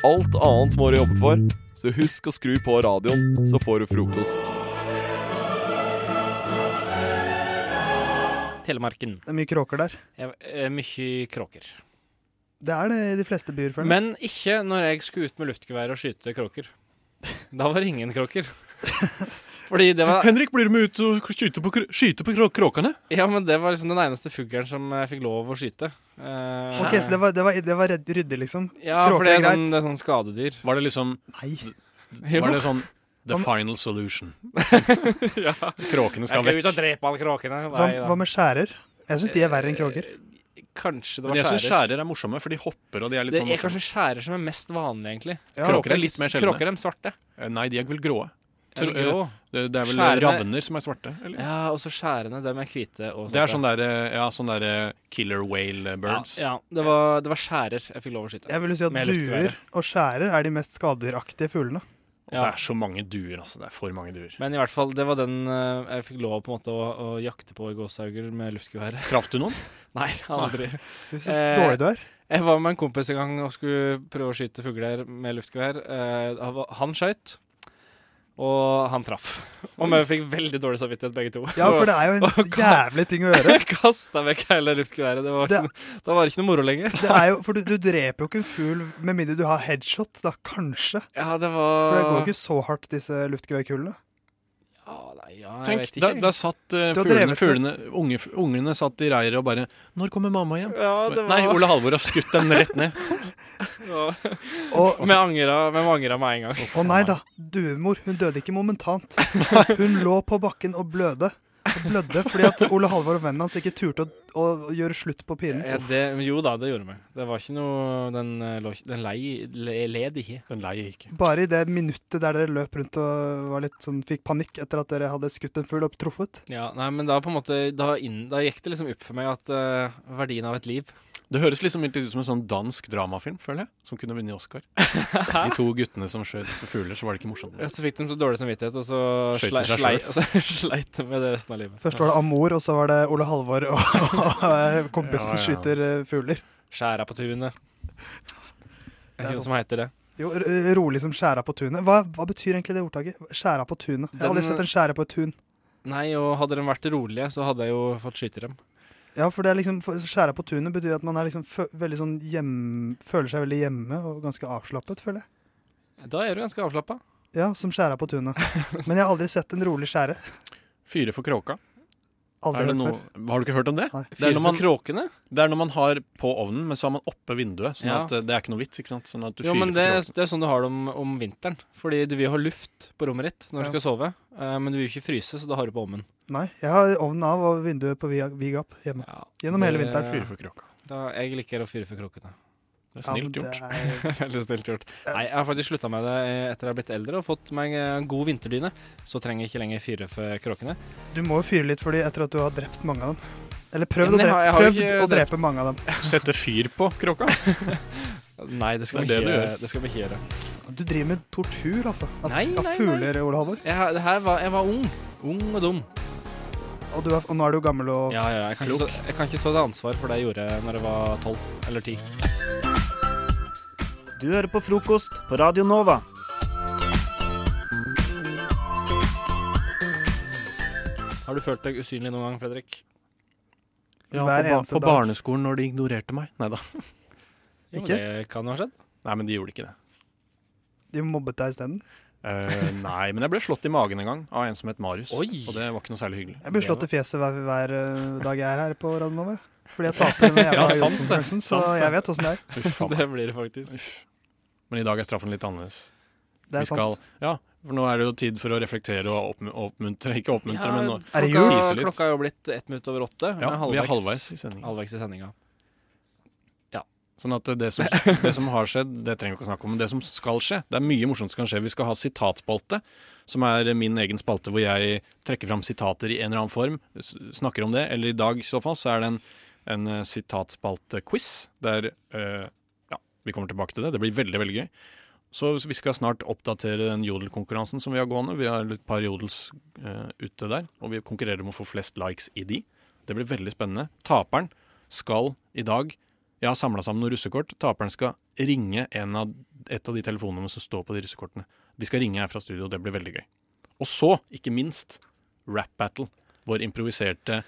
Alt annet må du jobbe for, så husk å skru på radioen, så får du frokost.
Telemarken.
Det er mye kråker der.
Jeg, eh, mye kråker.
Det er det i de fleste byer, føler jeg.
Men ikke når jeg skulle ut med luftgevær og skyte kråker. Da var det ingen kråker. Fordi det var
Henrik, blir du med ut og skyte på, kr- skyte på krå- kråkene?
Ja, men det var liksom den eneste fuglen som eh, fikk lov å skyte. Eh,
Ok, Så det var, det var, det var redd- ryddig, liksom?
ja,
kråker
for det
er
er, sånn,
greit.
det er sånn skadedyr.
Var det liksom
Nei.
Jo.
Var det sånn The
Hva med-
final solution. Kråkene
Jeg
skal
skal ut
vekk.
og drepe alle kråkene.
Hva,
Nei, da.
hva med skjærer? Jeg syns de er verre enn kråker.
Eh, Kanskje det
Men
var
jeg syns
skjærer.
skjærer er morsomme, for de hopper og de er litt
Det
sånn
er kanskje skjærer som er mest vanlig, egentlig.
Ja.
Kråker er litt mer sjeldne.
Kråker er de svarte.
Eh, Nei, de er vel gråe.
Er de
Til- eh,
grå?
Det, det er vel
Skjærene-
ravner som er svarte? Eller?
Ja, og så skjærene. De er hvite. Og
Det er sånn der, eh, ja, sånn der eh, killer whale birds.
Ja, ja det, var, det var skjærer jeg fikk lov å skyte.
Jeg vil jo si at
Med
duer
luftgeværet.
og skjærer er de mest skadedyraktige fuglene.
Og det er så mange duer, altså. Det er for mange duer.
Men i hvert fall, det var den eh, jeg fikk lov på en måte å, å jakte på i gåsehauger med luftgeværet.
Traff du noen?
Nei, aldri.
Fy, Så
Eh,
dårlig du er.
Jeg var med en kompis en gang og skulle prøve å skyte fugler med luftgevær. Eh, han var- han skøyt, og han traff. Og vi fikk veldig dårlig samvittighet, begge to.
Ja, for det er jo en jævlig ting å gjøre.
Kasta vekk hele luftgeværet. Det var,
Det-
ikke, da var det ikke noe moro lenger.
Det er jo, for du, du dreper jo ikke en fugl med mindre du har headshot, da kanskje.
Ja, det
For
var
det går jo ikke så hardt, disse luftgeværkulene.
Ja, nei, ja, jeg
Tenk,
vet
da,
ikke.
da satt eh,
Du har
fuglene,
drevet
fuglene unge, Ungene satt i reiret og bare 'Når kommer mamma hjem?'
ja, det var,
Nei, Ole Halvor har skutt dem rett ned.
ja.
Og
Vi angra vi angra med en gang.
å nei da, duemor, hun døde ikke momentant. Hun lå på bakken og blødde. Og blødde fordi at Ole Halvor og vennen hans ikke turte å, å, å gjøre slutt på
Ja,
pinen.
det, jo da, det gjorde vi. Det var ikke noe Den, eh, lå ikke- den lei, le, led ikke.
Den lei ikke.
Bare i det minuttet der dere løp rundt og var litt sånn, fikk panikk etter at dere hadde skutt en fugl og truffet.
Ja, nei, men da på en måte Da, inn, da gikk det liksom opp for meg at eh, verdien av et liv
Det høres liksom litt ut som en sånn dansk dramafilm, føler jeg, som kunne vunnet Oscar. De to guttene som skjøt fugler, så var det ikke morsomt.
Ja, så fikk de så dårlig samvittighet, og så
Skøyt
slei,
i seg
slei, og så sleit de med det resten av livet.
Først var det Amor, og så var det Ole Halvor og, og kompisen
Ja, ja.
skyter eh, fugler.
Skjæra på tunet. Er
Det
det
er
ikke noe som heter det?
Jo, r- r- rolig som skjæra på tunet. Hva, hva betyr egentlig det ordtaket? Skjæra på tunet. Jeg har aldri
Den-
sett en skjære på et tun.
Nei, og hadde de vært rolige, så hadde jeg jo fått skyte dem.
Ja, for det er liksom, for Skjæra på tunet betyr at man er liksom fø veldig sånn hjem, føler seg veldig hjemme og ganske avslappet, føler jeg.
Da er du ganske avslappa.
Ja, som skjæra på tunet. Men jeg har aldri sett en rolig skjære.
Fyre for kråka.
Aldri
Er det
hørt
noe,
før.
har du ikke hørt om det?
Nei.
Det er
Fyr
når
for
man,
kråkene?
det er når man har på ovnen, men så har man oppe vinduet. Sånn
Ja.
at eh, det er ikke noe vits. ikke sant? Sånn at du
Jo,
fyrer
men
for
det, er-
kråkene.
det er sånn du har det om, om vinteren. Fordi du vil jo ha luft på rommet ditt når du
Ja.
skal sove, eh, men du vil jo ikke fryse, så da har du på ovnen.
Nei, jeg har ovnen av og vinduet på vid vid gap hjemme.
Ja,
Gjennom hele
det-
vinteren.
Fyre for kråka.
Da, jeg liker å fyre for kråkene.
Det er snilt
Ja,
gjort.
det er-
Veldig snilt gjort. Nei, jeg har faktisk slutta med det eh, etter jeg har blitt eldre og fått meg eh, god vinterdyne. Så trenger jeg ikke lenger fyre for kråkene.
Du må jo fyre litt fordi etter at du har drept mange av dem. Eller prøvd,
Men jeg
å,
har- jeg
drepe,
har jo
prøvd
ikke
å drepe mange av dem.
Sette fyr på kråka.
Nei, det skal vi
Det er
ikke
det du
gjøre.
gjør.
Det skal vi ikke gjøre.
Du driver med tortur, altså. Av,
Nei, nei,
av
nei.
fugler, Ole Halvor.
Jeg, har- det her var, jeg var ung. Ung og dum.
Og, du er, og nå er du gammel og
Ja, ja, jeg, kan ikke, stå- jeg kan ikke stå til ansvar for det jeg gjorde når jeg var tolv eller ti.
Du Du hører på frokost på Radio Nova.
Har du følt deg usynlig noen gang, Fredrik?
Ja,
Hver
på, ba
eneste
på
dag.
barneskolen når de ignorerte meg. Nei da.
Jo, men
Ikke?
Det kan jo ha skjedd.
Nei, men de gjorde ikke det.
De mobbet deg isteden.
Eh, nei, men jeg ble slått i magen en gang av en som het Marius.
Oi.
Og det var ikke noe særlig hyggelig.
Jeg blir slått i fjeset hver, hver eh, dag jeg er her på Radio Nova. Fordi jeg taper denne jævla
Ja, sant det.
konkurransen, så
Sant det.
jeg vet åssen det er.
Uff, faen.
Det blir det faktisk.
Uff. Men i dag er straffen litt annerledes.
Det er
Vi skal,
sant.
ja, for nå er det jo tid for å reflektere og oppmu- oppmuntre. Ikke oppmuntre, men nå,
Er det
klokka-
jul? Tease litt.
Klokka er jo blitt ett minutt over åtte.
ja, vi er halvveis i sendingen.
halvveis i sendinga.
Sånn at det som, det som har skjedd, det trenger vi ikke å snakke om. Men det som skal skje, det er mye morsomt som kan skje. Vi skal ha sitatspalte, som er min egen spalte hvor jeg trekker fram sitater i en eller annen form. s- Snakker om det. Eller i dag i så fall så er det en, en eh, sitatspaltequiz der eh, Ja, vi kommer tilbake til det. Det blir veldig, veldig gøy. Så vi skal snart oppdatere den jodelkonkurransen som vi har gående. Vi har et par jodels eh, ute der, og vi konkurrerer om å få flest likes i de. Det blir veldig spennende. Taperen skal i dag jeg har samla sammen noen russekort. Taperen skal ringe en av, et av de telefonnumrene som står på de russekortene. De skal ringe her fra studio, og det blir veldig gøy. Og så, ikke minst, Rap Battle. Vår improviserte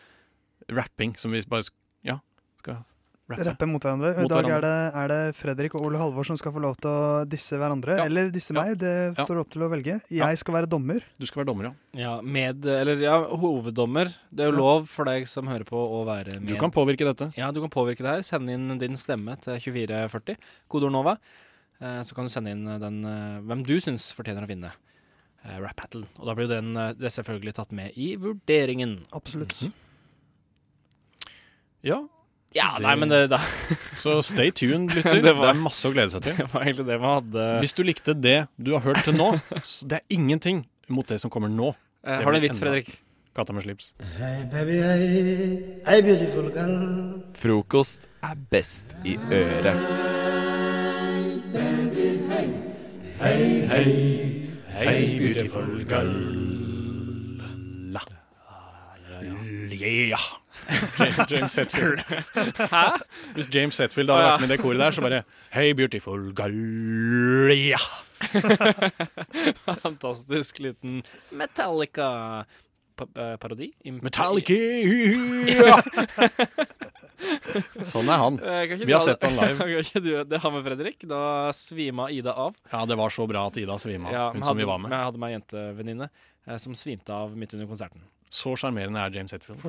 rapping som vi bare sk- Ja, skal rappe.
Rappe mot hverandre. Og
Mot
I dag er det, er det Fredrik og Ole Halvor som skal få lov til å disse hverandre.
Ja.
Eller disse
Ja.
meg. Det
Ja.
står opp til å velge.
Ja.
Jeg skal være dommer.
Du skal være dommer, ja.
Ja, med Eller ja, hoveddommer. Det er jo lov for deg som hører på, å være med.
Du kan påvirke dette.
Ja, du kan påvirke det her. Send inn din stemme til 2440, kodeord NOVA. Eh, Så kan du sende inn den, eh, hvem du syns fortjener å vinne eh, Rap Battle. Og da blir jo den eh, det er selvfølgelig tatt med i vurderingen.
Absolutt.
Mhm. Ja,
Ja,
Det-
nei, men det, da-
Så stay tuned, lytter.
Det
Det,
var-
er masse å glede seg til.
det var egentlig det man hadde.
Hvis du likte det du har hørt til nå, så det er ingenting mot det som kommer nå.
Eh, Har du en vits,
enda-
Fredrik?
Katta med slips.
Frokost er best i øret.
Hei, beautiful girl. La. Yeah. James Hetfield. Hæ? Hvis James Hetfield hadde vært med i det koret der, så bare Hei, beautiful girl. Ja.
Fantastisk liten eh, Metallica-parodi.
Metallica. Ja. Sånn er han.
Eh,
Vi har sett han live.
Kan ikke du det har med Fredrik? Da svima Ida av.
Ja, det var så bra at Ida svima,
Ja, men
hun som vi
hadde-
var
men
med.
Jeg hadde med ei jentevenninne eh, som svimte av midt under konserten.
Så sjarmerende er James Hetfield.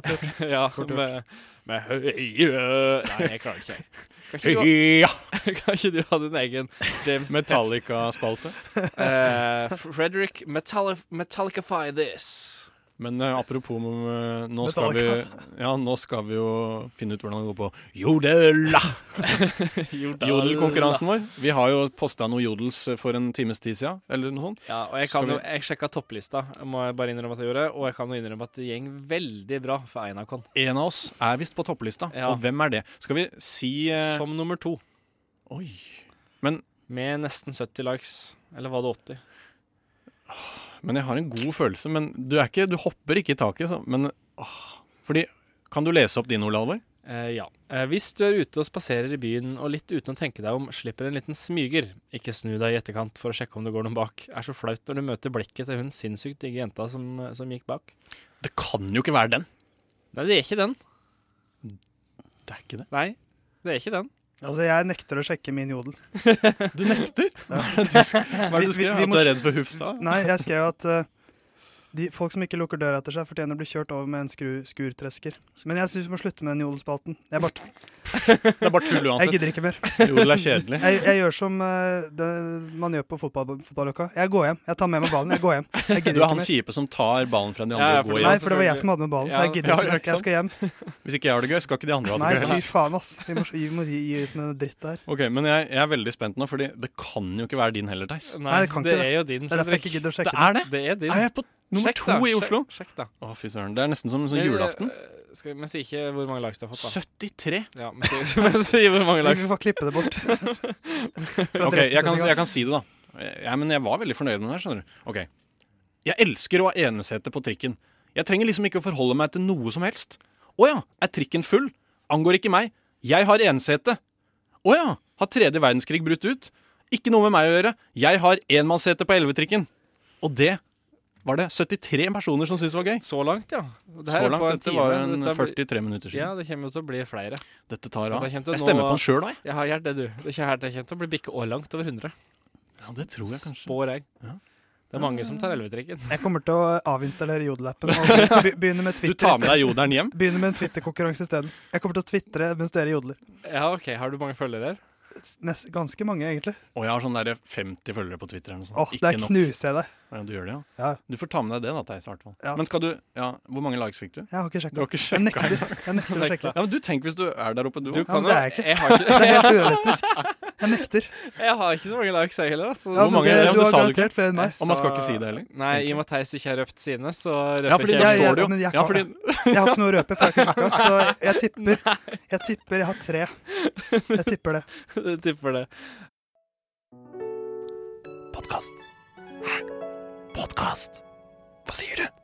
ja, med, med høye Nei, jeg klarer det ikke. Kan ikke, du,
Ja.
ha- kan ikke du ha din egen James
Metallica-spalte.
Eh, Fredrik Metalli Metallicify this.
Men eh, apropos eh, nå, skal vi, ja, nå skal vi jo finne ut hvordan det går på jodela. Jodelkonkurransen vår. Vi har jo posta noe jodels eh, for en times tid siden, eller noe sånt.
Ja, og jeg, kan
Skal vi-
jo, jeg sjekka topplista, må jeg bare innrømme at jeg gjorde. Og jeg kan jo innrømme at det gjeng veldig bra for Einarkon.
En av oss er visst på topplista,
Ja.
og hvem er det? Skal vi si eh,
Som nummer to.
Oi.
Med nesten 70 likes. Eller var det 80?
Men jeg har en god følelse. Men du, er ikke, du hopper ikke i taket, så, men åh. Fordi Kan du lese opp din, Ole Alvor?
Eh, ja. Eh, hvis du er ute og spaserer i byen og litt uten å tenke deg om, slipper en liten smyger. Ikke snu deg i etterkant for å sjekke om det går noen bak. Er så flaut når du møter blikket til hun sinnssykt digge jenta som, eh, som gikk bak.
Det kan jo ikke være den.
Nei, det er ikke den.
Det er ikke det.
Nei, det er ikke den.
Altså, jeg nekter å sjekke min jodel.
Du nekter! Hva er det du, sk- hva er det
Vi-
du
vi-
skrev?
vi
At
må
du er
s-
redd for Hufsa?
Nei, jeg skrev at eh, de, folk som ikke lukker døra etter seg, fortjener å bli kjørt over med en skru, skurtresker. Men jeg syns vi må slutte med den jodelspalten. Jeg, bare,
Det er bare tull
jeg
uansett.
gidder ikke mer.
Jodel er kjedelig.
Jeg, jeg gjør som eh, det man gjør på fotball, fotballøkka. Jeg går hjem. Jeg tar med meg ballen. Jeg går hjem. Jeg
Du
gidder
er
ikke
han
mer.
kjipe som tar ballen fra de andre
Ja, ja,
og
for
går
det-
Nei,
hjem.
for det var jeg som hadde med ballen.
Ja,
Jeg gidder
ja,
ikke
ja, ikke
mer. Jeg skal hjem.
Hvis ikke jeg har det gøy, skal ikke de andre ha det
Nei,
gøy.
fy faen, ass. Vi må, vi må gi, gi oss med den dritt der.
Ok, Men jeg, jeg er veldig spent nå, Fordi det kan jo ikke være din heller, Theis.
Nei, det kan ikke
er jo din,
Det er derfor
Fredrik.
jeg ikke gidder å sjekke.
er det?
Det er din.
Er jeg på nummer
Sjekk
to
da,
i
sjekk-
Oslo?
Sjekk, da.
Å, fy søren. Det er nesten som, som
Men,
julaften.
eh, Skal, men si ikke hvor mange likes du har fått, da.
73.
Ja, men si, men si hvor mange
den. Vi
likes.
får klippe det bort.
Ok, jeg kan, jeg kan si det, da. Ja, men jeg var veldig fornøyd med det her, skjønner du. Ok. Jeg elsker å ha enesete på trikken. Jeg trenger liksom ikke å forholde meg til noe som helst. Å ja, er trikken full? Angår ikke meg. Jeg har enesete. Å ja, har tredje verdenskrig brutt ut? Ikke noe med meg å gjøre. Jeg har enmannssete på 11-trikken. Og det var det 73 personer som syntes var gøy.
Så langt, ja. Det
Så
her er
langt.
på en
Dette
time,
var
men
en
dette blir-
43 minutter
Ja,
siden.
det kommer jo til å bli flere.
Dette tar av.
Dette kommer til å
Jeg stemmer
nå-
på den sjøl, da. jeg.
Jeg har gjort det, du. Det kommer det kommer til å bli bikke år langt over 100.
Ja, det tror jeg kanskje.
Spår jeg.
Ja.
Det er mange som tar 11-trikken.
Jeg kommer til å avinstallere jodelappen og be- be- begynne med
Du
Twitter.
tar med
isteden.
deg jodelen hjem?
Begynne med en Twitter-konkurranse isteden. Jeg kommer til å twitre mens dere jodler.
Ja, OK. Har du mange følgere her?
Nest, ganske mange, egentlig.
Og jeg har sånn der 50 følgere på Twitter. eller noe sånt.
Åh, Der knuser jeg deg.
Ja, du gjør det, ja.
Ja.
Du får ta med deg det, da, Theis. i hvert fall.
Ja.
Men skal du Ja, hvor mange likes fikk du?
Jeg har ikke
Du
sjekka.
har ikke
Jeg
sjekka?
nekter, jeg nekter å sjekke.
Ja, men du, tenk hvis du er der oppe, du
Du
òg.
kan
men det er jeg
jo
ikke.
jeg har,
Det er
ikke,
helt urealistisk. Jeg nekter.
jeg har ikke så mange likes, jeg heller. Altså.
Ja,
Hvor
men
mange-
det,
ja, men
du
det
har
sa du ikke.
garantert flere enn meg.
Og man skal ikke si det heller.
Nei, i og med at Theis ikke har røpt sine, så røper
Ja, fordi
ikke
jeg-
der
jeg.
ja,
står det jo.
men jeg
Ja,
kan-
fordi
Jeg har ikke noe å røpe, for jeg har ikke sjekka. Så jeg tipper, jeg tipper jeg har tre. Jeg tipper det.
Jeg tipper det.
Podkast. Hæ? Podkast? Hva sier du?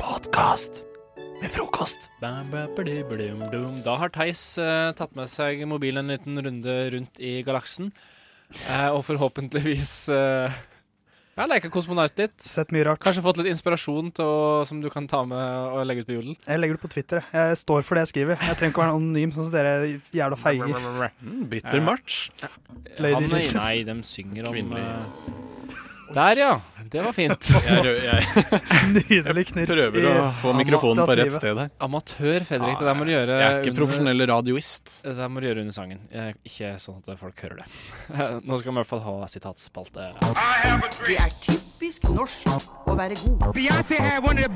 Podkast med frokost.
Da har Theis eh, tatt med seg mobilen en liten runde rundt i galaksen. Eh, og forhåpentligvis uh, ja, leka kosmonaut litt.
Sett mye rart.
Kanskje fått litt inspirasjon til å, som du kan ta med og legge ut på jodel.
Jeg legger det på Twitter. jeg. Jeg står for det jeg skriver. Jeg trenger ikke være anonym, sånn som dere jævla feiger.
mm, Bitter match.
Lady
Han,
Jesus.
Nei, de synger om
Kvinnelig
eh, Der, ja. Det var fint.
Jeg, rø- jeg
Nydelig knirk.
prøver å
i-
få mikrofonen på rett
stativet.
sted her.
Amatør, Fredrik. Det der må du gjøre
Jeg er ikke
under,
profesjonell radioist.
det der må du gjøre under sangen. Eh, Ikke sånn at folk hører det. Nå skal vi i hvert fall ha sitatspalte.
Det er typisk norsk å være god.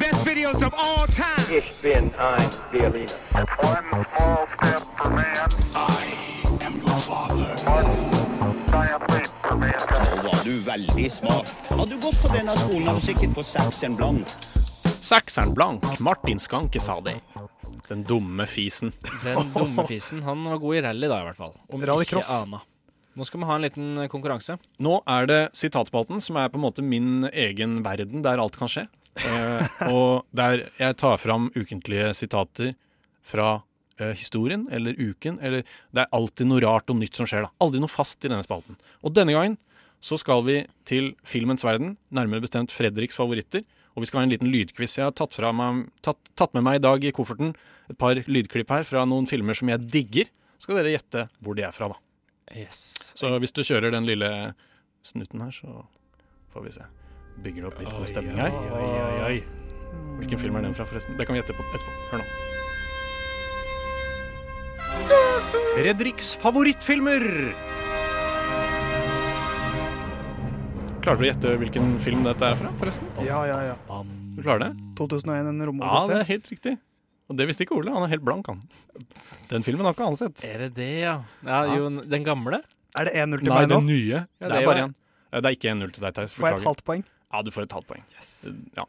Saxern Blank, Martin Skanke sa det. Den dumme fisen.
Den dumme fisen. Han var god i rally da, i hvert fall. Om
Rallycross.
ikke anna. Nå skal vi ha en liten eh, konkurranse.
Nå er det sitatspalten, som er på en måte min egen verden, der alt kan skje. Eh, og der jeg tar fram ukentlige sitater fra eh, historien eller uken. Eller det er alltid noe rart og nytt som skjer. da. Aldri noe fast i denne spalten. Og denne gangen så skal vi til filmens verden, nærmere bestemt Fredriks favoritter. Og vi skal ha en liten lydquiz. Jeg har tatt, fra meg, tatt, tatt med meg i dag i kofferten et par lydklipp her fra noen filmer som jeg digger. Så skal dere gjette hvor de er fra, da.
Yes.
Så hvis du kjører den lille snuten her, så får vi se. Bygger det opp litt god stemning her. Hvilken film er den fra, forresten? Det kan vi gjette på etterpå. Hør nå. Fredriks favorittfilmer! Klarer du å gjette hvilken film dette er fra, forresten?
Ja, ja, ja.
Du klarer det?
2001, en
Ja, det
romodyssé.
er helt riktig. Og det visste ikke Ole. Han er helt blank, han. Den filmen har ikke han sett.
Er det det, ja? ja jo, den gamle?
Er det 1-0 til
Nei,
meg nå?
den nye.
Ja, det
det er bare
var-
én. Det er ikke 1-0 til deg, Theis.
Får jeg et
Beklager.
halvt poeng?
Ja, du får et halvt poeng. Ja.
Det
Eh,
kan bli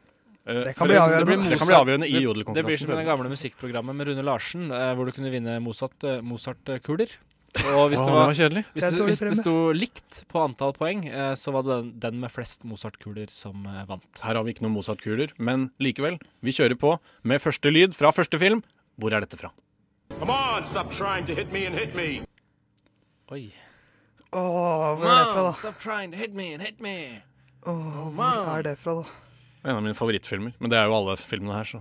forresten,
avgjørende.
Det blir, det kan bli avgjørende i
Det- Det blir som det
jodelkonkurransen.
gamle musikkprogrammet med Rune Larsen, eh, hvor du kunne vinne Mozart- eh, Mozart-kuler. Og hvis
Åh,
det var
kjedelig.
Hvis,
Det
det-
er dårlig
hvis det
premie.
sto likt på antall poeng, eh, så var det den, den med flest Mozart-kuler som eh, vant.
Her har vi ikke noen Mozart-kuler, men likevel. Vi kjører på med første lyd fra første film. Hvor er dette fra?
Oi.
Åh, hvor er det fra, da?
Stop trying to hit me and hit me!
Åh, hvor er det fra, da?
En av mine favorittfilmer. Men det er jo alle filmene her, så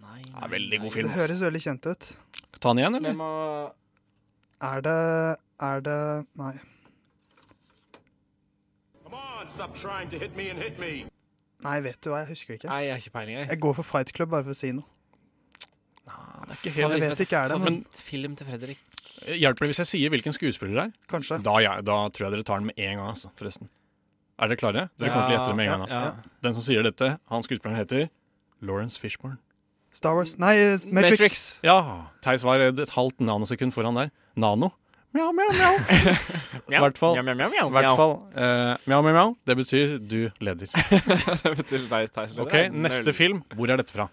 Nei,
ja, Veldig god
Det
film. ass.
høres veldig kjent ut.
Ta den igjen,
Jeg
eller?
må
Er det Er det Nei. Nei, vet du hva, jeg husker ikke.
Nei, jeg har ikke peiling, jeg.
Jeg går for Fight Club bare for å si noe.
Det er ikke
Jeg
helt...
vet ikke er det, men
Favorittfilm til Fredrik.
Hjelper det hvis jeg sier hvilken skuespiller det er?
kanskje.
Da, ja, da tror jeg dere tar den med en gang, altså, forresten. Er dere klare? Dere kommer til å gjette det med en gang. da.
Ja, ja.
Den som sier dette, han skuespilleren heter Lawrence Fishburne.
Star Wars Nei, Matrix.
Matrix.
Ja, Theis var et halvt nanosekund foran der. Nano. Mjau, mjau, mjau. I hvert fall.
Mjau, mjau, mjau, mjau.
I hvert fall eh, mjau, mjau, mjau. Det betyr du leder.
Det betyr deg, Theis.
Ok, Neste film. Hvor er dette fra?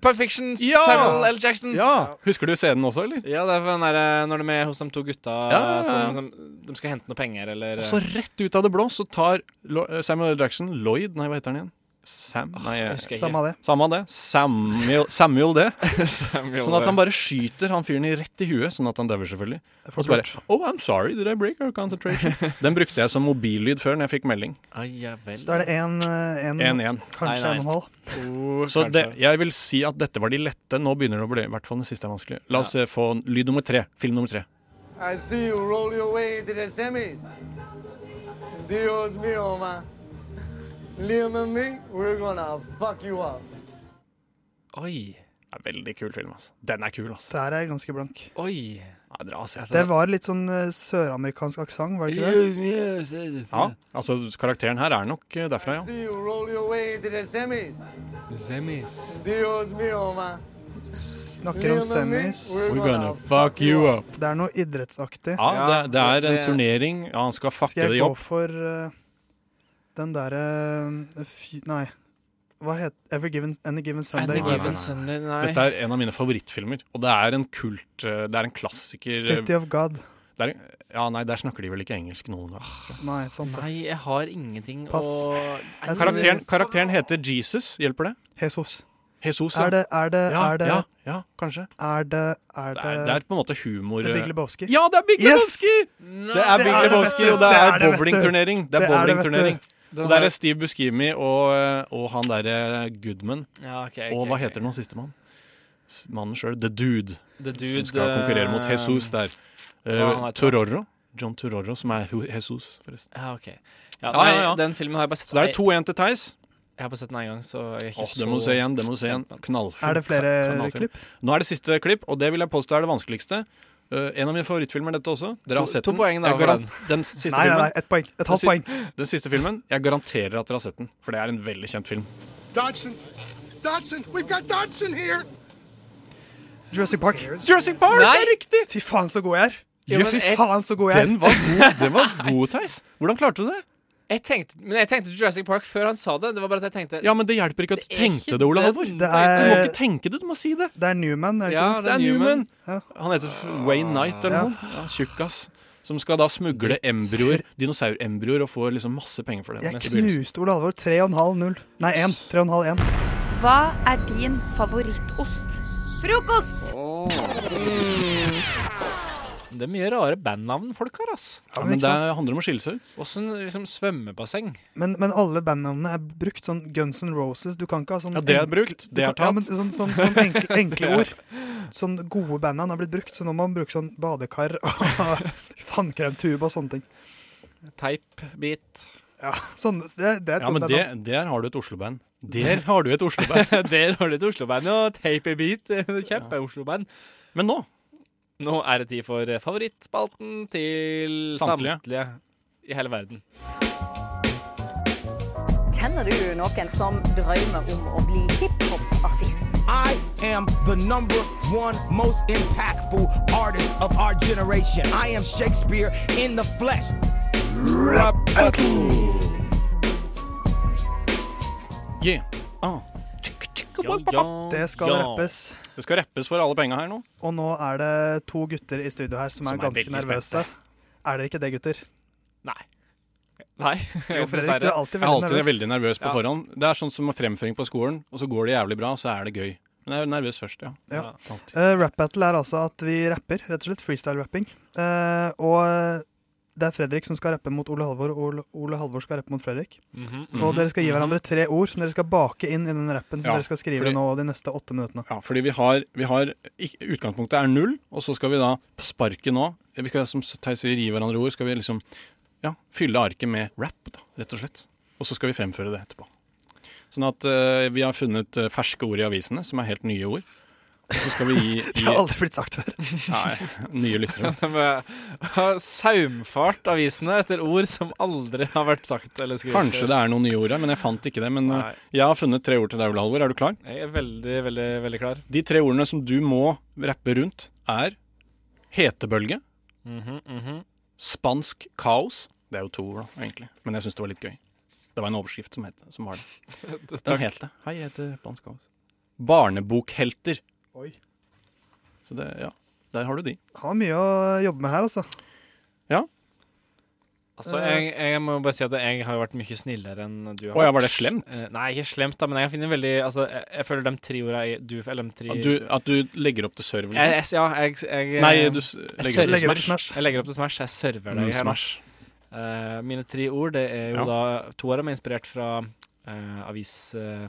Perfection,
Ja!
Eh, Samuel L. Jackson.
Ja, Husker du scenen også, eller?
Ja, det er for den der, eh, når de er hos de to gutta
ja, ja.
Som, som de
Eh.
skal hente noe penger, eller
eh, Og så rett ut av det blå så tar Lo- eh, Samuel L. Jackson Lloyd Nei, hva heter han igjen? Sam? Nei,
Jeg
jeg-
husker ikke.
Samme av det.
samme av det. Samuel, Samuel det.
Samuel,
Sånn at han bare skyter han fyren i rett i huet, sånn at han dauer, selvfølgelig.
Det er
Og
fort
så bare
gjort.
Oh, I'm sorry, did I break our concentration? Den brukte jeg som mobillyd før når jeg fikk melding.
Ai, ja vel.
Så da er det én, en,
1-1.
kanskje
Nei, nei.
en og en halv.
to,
Så
Oh, kanskje.
det, jeg vil si at dette var de lette. Nå begynner det å bli i hvert fall den siste er vanskelig. La oss eh, få lyd nummer tre. Film nummer tre.
I see you roll your way to the semis. Dios mio, man. Liam and me, we're gonna fuck you up.
Oi,
Det er veldig kul film, altså. Den er kul, altså.
Det her er ganske blank.
oi.
Ja, dere har sett
Det
den.
var litt sånn eh, søramerikansk aksent, var det ikke det?
Ja, altså karakteren her er nok eh, derfra, ja.
See you roll your way to the semis.
Zemis.
Dios mio, man.
Snakker om semis.
We're gonna fuck you up.
Det er noe idrettsaktig.
Ja, det, det er en
det-
turnering. Ja, han skal fucke
Skal
det
jeg gå
opp.
for eh, den derre eh, fy- Nei. Hva het Every given, Any Given Sunday?
Any
nei, nei.
given Sunday, nei.
Dette er en av mine favorittfilmer, og det er en kult eh, Det er en klassiker eh,
City of God.
det er, Ja, nei, der snakker de vel ikke engelsk noen gang.
Nei, sant det.
Nei, jeg har ingenting
Pass.
å
Jeg tror-
Karakteren, karakteren heter Jesus, hjelper det?
Jesus.
Jesus, ja.
Er det Er det
ja,
Er det
ja, ja, kanskje.
Er det Er
Det
det
er, eh, det er på en måte humor
The Big Lebowski?
Ja, det er Big
Yes!
Lebowski! Det er
Det
Big
er det,
Lebowski,
vet du.
og det
Det er
er
det, vet du.
bowlingturnering. Det
Det er
er
det, vet du.
bowlingturnering.
Den
Så der
her-
er Steve Buscemi og, eh, og han derre Goodman.
ja, ok, ok,
Og hva
ok.
heter den sistemann? S- Mannen sjøl, The Dude,
The
som
Dude,
skal konkurrere mot
eh,
Jesus der.
hva han
Eh,
heter.
Tororo. John Tororo, som er Hu- Jesus, forresten.
Ja, ok. Ja,
Ja,
nei,
ja, ja.
Den filmen har jeg bare sett
Så det er 2-1 til Theis.
Jeg har bare sett den en gang, så jeg er ikke
Åh,
så
det må du se igjen. det må du se igjen Knallfilm.
Er det flere
Knallfilm.
klipp?
Nå er det siste klipp, og det vil jeg påstå er det vanskeligste. Eh, en av mine favorittfilmer, dette også. Dere har
To-
sett
to
den.
poeng da,
Jeg
for
garan-
den.
den siste
Nei, nei,
filmen.
nei, ett poeng. Et halvt
si-
poeng.
Den siste filmen, Jeg garanterer at dere har sett den, for det er en veldig kjent film.
Dodson! Dodson! We've got Dodson here!
Jurassic Park.
Jurassic Park!
Nei!
Det er riktig!
Fy faen, så god jeg er!
Jo, men
Fy
et-
faen, så god jeg er!
Den var god, den var god Theis. Hvordan klarte du det?
Jeg tenkte, men jeg tenkte Jurassic Park før han sa det. Det var bare at jeg tenkte
Ja, men Det hjelper ikke at du
Det er
tenkte
ikke
det, Ole
den-
Halvor.
Det
Du må
er-
ikke tenke det, du må si det.
Det er Newman, er det ikke?
Ja,
Det er Newman.
Ja.
Han heter Wayne Knight eller
Ja.
noe. Ja, Tjukkas. Som skal da smugle embryoer, dinosaurembryoer og får liksom masse penger for det.
Jeg
I begynnelsen.
knuste Ole Halvor. 3,5-0. Nei, 1. 3,5-1.
Hva er din favorittost? Frokost!
Det er mye rare bandnavn folk har, ass.
Ja, men det handler om å skille seg ut.
Åssen liksom svømmebasseng?
Men, men alle bandnavnene er brukt sånn Guns N' Roses. Du kan ikke ha sånn
Ja, det er
enkle-
brukt.
du
Det er
kan- Ja, men
tatt.
sånn, sånn, sånn enkle, enkle ord. Sånn gode bandnavn er blitt brukt, så nå må man bruke sånn badekar og tannkremtube og sånne ting.
Teipbit?
Ja, sånn, det, det er et
Ja, men
godt
det,
bandnavn.
Der har du et Oslo-band. Der har du et Oslo-band.
Der har du et Oslo-band, og Teipbit. Kjempe Oslo-band.
Men nå
Nå er det tid for eh, favorittspalten til
Samtlige.
samtlige i hele verden.
Kjenner du noen som drømmer om å bli hiphop-artist?
I am the number one most impactful artist of our generation. I am Shakespeare in the flesh.
yeah. ah.
Jo, jo,
Det skal
jo.
rappes.
Det skal rappes for alle penga her nå.
Og nå er det to gutter i studio her som er
Som er
ganske
veldig
nervøse. Er dere ikke det, gutter?
Nei. Nei,
Jo, Fredrik, du er alltid
Jeg er
veldig
alltid
nervøs.
veldig nervøs på forhånd. Det er sånn som fremføring på skolen, og så går det jævlig bra, så er det gøy. Men jeg er nervøs først, ja.
Ja.
Alltid.
Eh, rap battle er altså at vi rapper, rett og slett. Freestyle-rapping. Eh, og det er Fredrik som skal rappe mot Ole Halvor, og Ole, Ole Halvor skal rappe mot Fredrik.
Mhm.
Og dere skal gi hverandre tre ord som dere skal bake inn i den rappen som
Ja,
dere skal skrive
fordi-
nå de neste åtte minuttene.
Ja, fordi vi har, vi har ik- Utgangspunktet er null, og så skal vi da på sparket nå Vi skal som Theis sier, gi hverandre ord. Skal vi liksom ja, fylle arket med rap, da, rett og slett. Og så skal vi fremføre det etterpå. Sånn at eh, vi har funnet eh, ferske ord i avisene, som er helt nye ord. Og så skal vi gi,
Det
gi
har aldri blitt sagt før.
Nei, nye lyttere. vet du.
Med- Saumfart avisene etter ord som aldri har vært sagt eller skrevet.
Kanskje det er noen nye ord her, men jeg fant ikke det. Men eh, jeg har funnet tre ord til deg, Ole Halvor. Er du klar?
Jeg er veldig, veldig, veldig klar.
De tre ordene som du må rappe rundt, er hetebølge,
Mhm, mhm.
spansk kaos Det er jo to ord, da, egentlig. Men jeg syns det var litt gøy. Det var en overskrift som, het, som var det. Den het det. Hei, jeg heter spansk kaos. Barnebokhelter.
Oi.
Så det, ja. Der har du de.
Har mye å jobbe med her, altså.
Altså, jeg, jeg må bare si at jeg har jo vært mye snillere enn du har
Å ja, var
vært.
det slemt?
Eh, Nei, ikke slemt, da, men jeg finner veldig Altså, jeg, jeg føler de tre orda i du, Eller de tre
At du, at du legger opp til server?
jeg, jeg,
Liksom?
Ja, jeg, jeg
Nei,
eh,
du s-
server
legger opp til
Legger opp
smash.
til Smash.
Jeg legger opp til Smash. Jeg server deg her
Mm,
nå.
Smash.
Eh, mine tre ord, det er jo
Ja.
da To av dem er inspirert fra eh, avis, eh,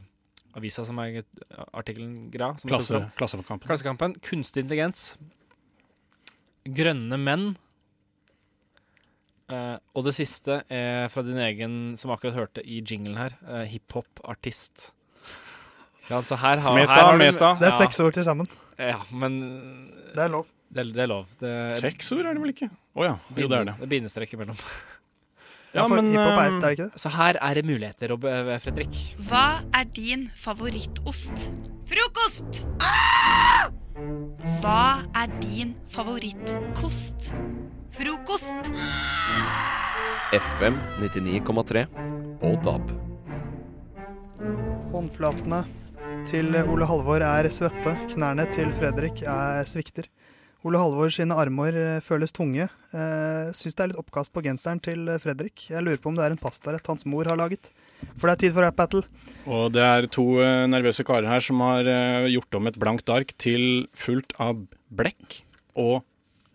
avisa som er artikkelen Gra. Som jeg tok
Klasse,
opp.
klassekampen.
Klassekampen. Kunstig intelligens. Grønne menn. Eh, og det siste er fra din egen, som akkurat hørte i jinglen her, eh, hiphop-artist. Ikke sant, så her har,
Meta,
her har du-
meta.
Det er
Ja.
seks ord til sammen.
Ja, men
Det er lov.
det, er- det er lov. Det er
Seks ord er det vel ikke? Å ja. Jo, det er det.
binde- bindestrek imellom.
Ja, for
men,
hiphop er
eh,
ett, er det ikke det?
Så her er det muligheter, Rob eh, Fredrik.
Hva er din favorittost? Frokost! Hva er din favorittkost? Frokost.
FM 99,3 og DAB.
Håndflatene til Ole Halvor er svette, knærne til Fredrik er svikter. Ole Halvor sine armer eh, føles tunge. Eh, Syns det er litt oppkast på genseren til eh, Fredrik. Jeg lurer på om det er en pastarett hans mor har laget. For det er tid for rap battle.
Og det er to eh, nervøse karer her som har eh, gjort om et blankt ark til fullt av blekk og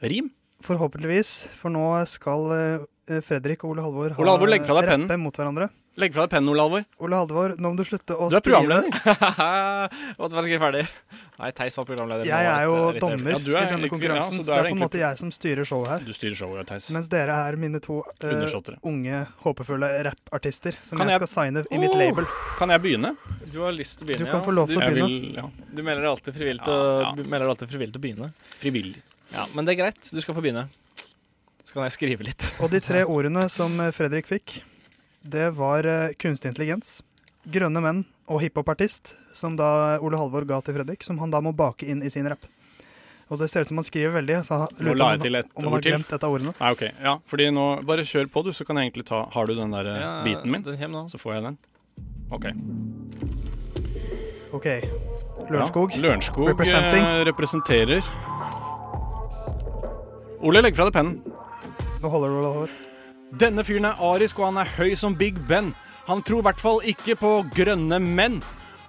rim.
Forhåpentligvis, for nå skal eh, Fredrik og Ole Halvor
Ole Halvor, legg fra deg
rappe
pennen.
mot hverandre.
Legg fra deg pennen, Ole Alvor.
Ole Halvor, nå må du slutte å
Du er programleder.
Måtte være skrevet ferdig. Nei, Theis var programleder.
Jeg er jo
Litt- litt-
dommer
Ja, du
i
er
denne
egentlig-
konkurransen, så
ja, så da
det
er
er
det
på en måte jeg som styrer showet her.
Du styrer showet, Theis.
Mens dere er mine to eh,
Undersåtter.
unge, håpefulle rappartister som
Kan
jeg
jeg-
skal signe i mitt
Oh!
label.
Kan jeg begynne?
Du har lyst til å begynne,
Du kan få lov til å
Jeg
begynne.
vil, ja.
ja. Du melder deg alltid frivillig til,
Ja, ja.
å- du melder deg alltid frivillig til å begynne.
Frivillig.
Ja, Men det er greit. Du skal få begynne. Så kan jeg skrive litt.
Og de tre ordene som eh, Fredrik fikk, det var eh, kunstig intelligens, grønne menn og hiphopartist, som da Ole Halvor ga til Fredrik, som han da må bake inn i sin rapp. Og det ser ut som han skriver veldig, så jeg lurer på
Nå la
om
jeg
han-
til et
om han
ord
har
til.
glemt et av ordene.
Nei, ok. Ja, fordi nå Bare kjør på, du, så kan jeg egentlig ta Har du den der eh,
Ja,
biten min?
Den kommer nå.
Så får jeg den. OK.
OK. Lørenskog.
Ja. Lørenskog eh,
Representing.
representerer Ole, legg fra deg pennen.
Nå holder Ole Halvor.
Denne fyren er arisk, og han er høy som Big Ben. Han tror i hvert fall ikke på grønne menn.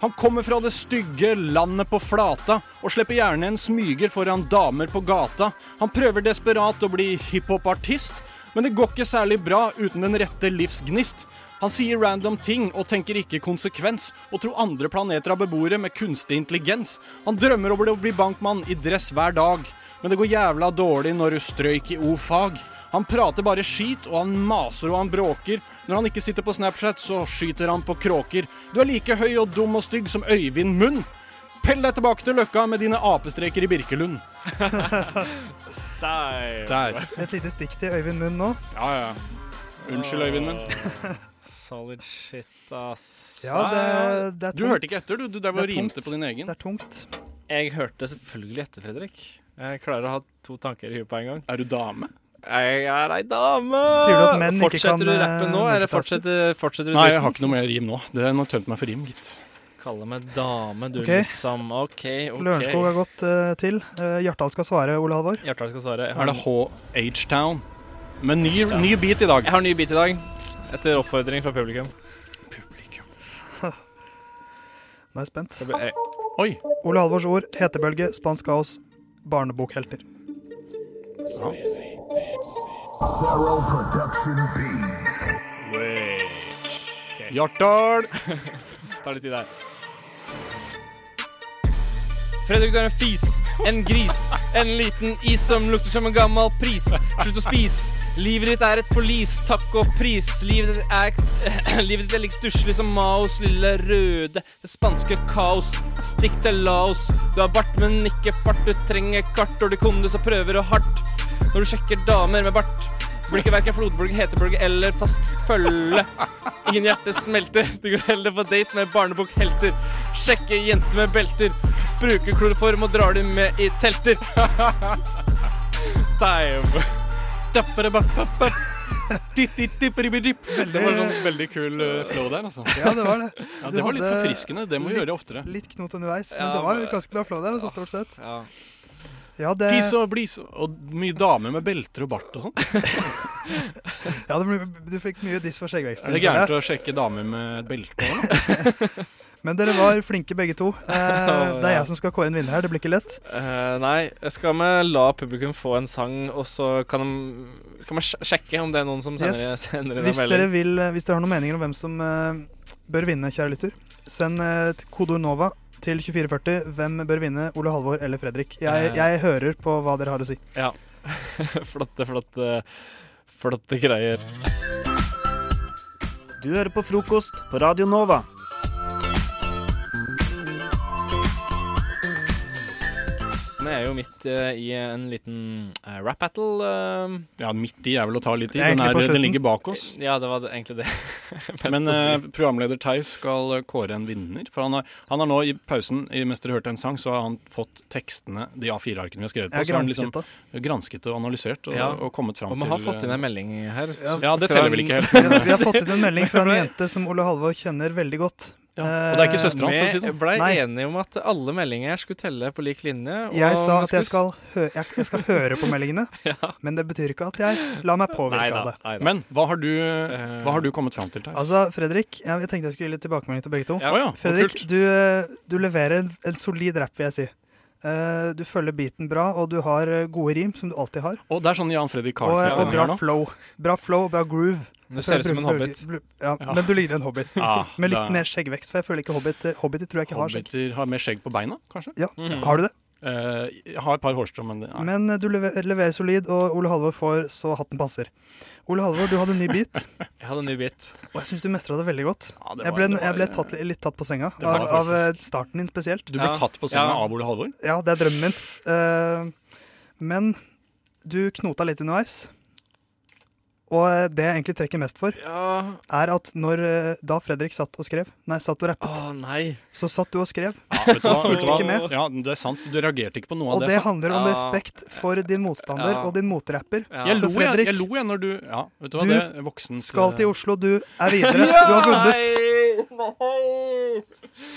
Han kommer fra det stygge landet på flata, og slipper gjerne en smyger foran damer på gata. Han prøver desperat å bli hiphop-artist, men det går ikke særlig bra uten den rette livsgnist. Han sier random ting og tenker ikke konsekvens, og tror andre planeter har beboere med kunstig intelligens. Han drømmer over det å bli bankmann i dress hver dag, men det går jævla dårlig når du strøyk i O-fag. Han prater bare skit, og han maser og han bråker. Når han ikke sitter på Snapchat, så skyter han på kråker. Du er like høy og dum og stygg som Øyvind Munn. Pell deg tilbake til Løkka med dine apestreker i Birkelund. Der.
Et lite stikk til Øyvind Munn nå.
Ja, ja. Unnskyld, Øyvind Munn.
Solid shit, ass.
Ja, det, det er tungt.
Du hørte ikke etter, du. Du der var og
Det er tungt.
rimte på din egen.
Det er tungt.
Jeg hørte selvfølgelig etter, Fredrik. Jeg klarer å ha to tanker i huet på en gang.
Er du dame?
Jeg er ei dame!
Sier du at menn ikke
fortsetter
kan,
du rappen nå,
eh,
eller
multitaske?
fortsetter, fortsetter du
Nei, jeg
dissen?
har ikke noe mer rim nå. Det er nå tømt meg for rim, gitt.
Kalle meg dame, du,
Ok.
liksom. OK, OK.
Lørenskog har gått eh, til. Eh, Hjartdal skal svare, Ole Halvor.
Hjertelig skal svare. Jeg
Er
har,
det H-H-Town? Med ny, ny beat i dag.
jeg har ny bit i dag. Etter oppfordring fra publikum.
Publikum.
Nå er jeg spent.
Så ble- jeg-
Oi.
Ole Halvors ord, hetebølge, spansk kaos, barnebokhelter.
Hjartdal.
tar litt tid der. Fredrik, du er en fis, en gris, en liten is som lukter som en gammel pris. Slutt å spise. Livet ditt er et forlis, takk og pris. Livet ditt er, livet ditt er like stusslig som Maos lille røde. Det spanske kaos. Stikk til Laos. Du har bart, men ikke fart. Du trenger kart, og du kunde så prøver du hardt. Når du sjekker damer med bart, blir ikke verken flodbølge, hetebølge eller fast følge. Ingen hjerte smelter. Du går heller på date med barnebokhelter. Sjekke jenter med belter. Bruker kloroform og drar dem med i telter. Damn. Dapparabappapap. Ditt-ditt-dipperibidipp.
Det var sånn veldig kul eh, flow der, altså.
Ja, det var det.
Ja,
Du
det var litt
hadde
forfriskende. Det må vi gjøre oftere.
Litt knot underveis, men
Ja,
det var
men-
ganske bra flow der, altså, stort sett.
Ja.
Ja, det,
Fis og blis og mye damer med belter og bart og sånn.
ja, det ble, du fikk mye diss for skjeggveksten.
Er det gærent å sjekke damer med belte òg, da?
Men dere var flinke begge to. Eh, det er jeg som skal kåre en vinner her. Det blir ikke lett.
Eh, nei, skal vi la publikum få en sang, og så kan, de, kan vi sj- sjekke om det er noen som sender,
Yes.
sender inn en
Hvis dere,
melding?
vil, eh, hvis dere har noen meninger om hvem som eh, bør vinne, kjære lytter, send eh, t- kodeord NOVA til 2440. Hvem bør vinne? Ole Halvor eller Fredrik? Jeg,
Eh.
jeg hører på hva dere har å si.
flotte, flotte, flotte greier.
Du hører på frokost på Radio Nova.
Vi er jo midt eh, i en liten eh, rap battle. eh,
Ja, midt i er vel å ta litt
Det
i.
er
Den,
egentlig
er,
på slutten.
den ligger bak oss.
ja, det var det- egentlig det.
Men eh, programleder Theis skal eh, kåre en vinner. For han har, han har nå i pausen, i mens dere hørte en sang, så har han fått tekstene, de A4-arkene vi har skrevet på,
Jeg
så har han
gransket
liksom
det.
gransket og analysert og,
Ja.
og kommet fram
Og
til
vi har fått inn
eh,
en melding her.
Ja, det teller vel ikke helt.
Vi har- vi har fått inn en melding fra en jente som Ole Halvor kjenner veldig godt.
Ja. Og det er ikke søstera hans, for å si det
Vi
sånn.
blei
Nei.
enige om at alle meldinger skulle telle på lik linje. og
Jeg sa
vi
at jeg
skulle-
skal, hø jeg, jeg skal høre på meldingene, men det betyr ikke at jeg lar meg påvirke
Neida,
av det.
neida.
Men hva har, du,
Eh,
hva har du kommet fram til, Theis?
Altså, Fredrik, jeg, jeg tenkte jeg skulle gi litt tilbakemelding til begge to.
ja. Å ja, så
Fredrik,
kult.
du, eh, du leverer en, en solid rap, vil jeg si. Eh, du følger beaten bra, og du har eh, gode rim, som du alltid har.
Og det er sånn Jan Fredrik
Og, eh, og
Karlsen stemmer
bra
her nå.
flow. Bra flow og bra groove.
Du ser ut som en hobbit.
Ja,
Ja.
Men du ligner en hobbit.
Ah,
Med
da-
litt mer skjeggvekst, for jeg føler ikke hobbiter Hobbiter tror jeg ikke har skjegg.
Hobbiter har mer skjegg på beina, kanskje?
Ja,
Mhm.
Har du det?
Eh, jeg har et par hårstrå, men det- nei.
Men eh, du lever, leverer solid, og Ole Halvor får så hatten passer. Ole Halvor, du hadde en ny beat,
Jeg hadde en ny bit.
og jeg syns du mestra det veldig godt.
Ja, det
Jeg
var-
ble,
det var- eh,
jeg ble tatt, li- litt tatt på senga
var
av, av eh, starten din spesielt.
Du ble
Ja.
tatt på senga
Ja.
av Ole Halvor?
Ja, det er drømmen min. Eh, men du knota litt underveis. Og eh, det jeg egentlig trekker mest for,
Ja
er at når, eh, da Fredrik satt og skrev Nei, satt og
Å
rappet,
nei.
så satt du og skrev.
Ja, vet du hva? Vet du
Ikke
hva?
med.
Ja, det er sant. Du reagerte ikke på noe av
Og
det.
det
sant?
handler om
Ja.
respekt for din motstander
Ja.
og din motrapper.
Ja.
Jeg
Så
lo, jeg,
Fredrik-
jeg lo jeg når du Ja, vet du hva,
Du
det er eh, voksens
Skal til Oslo, du er videre. Du har vunnet.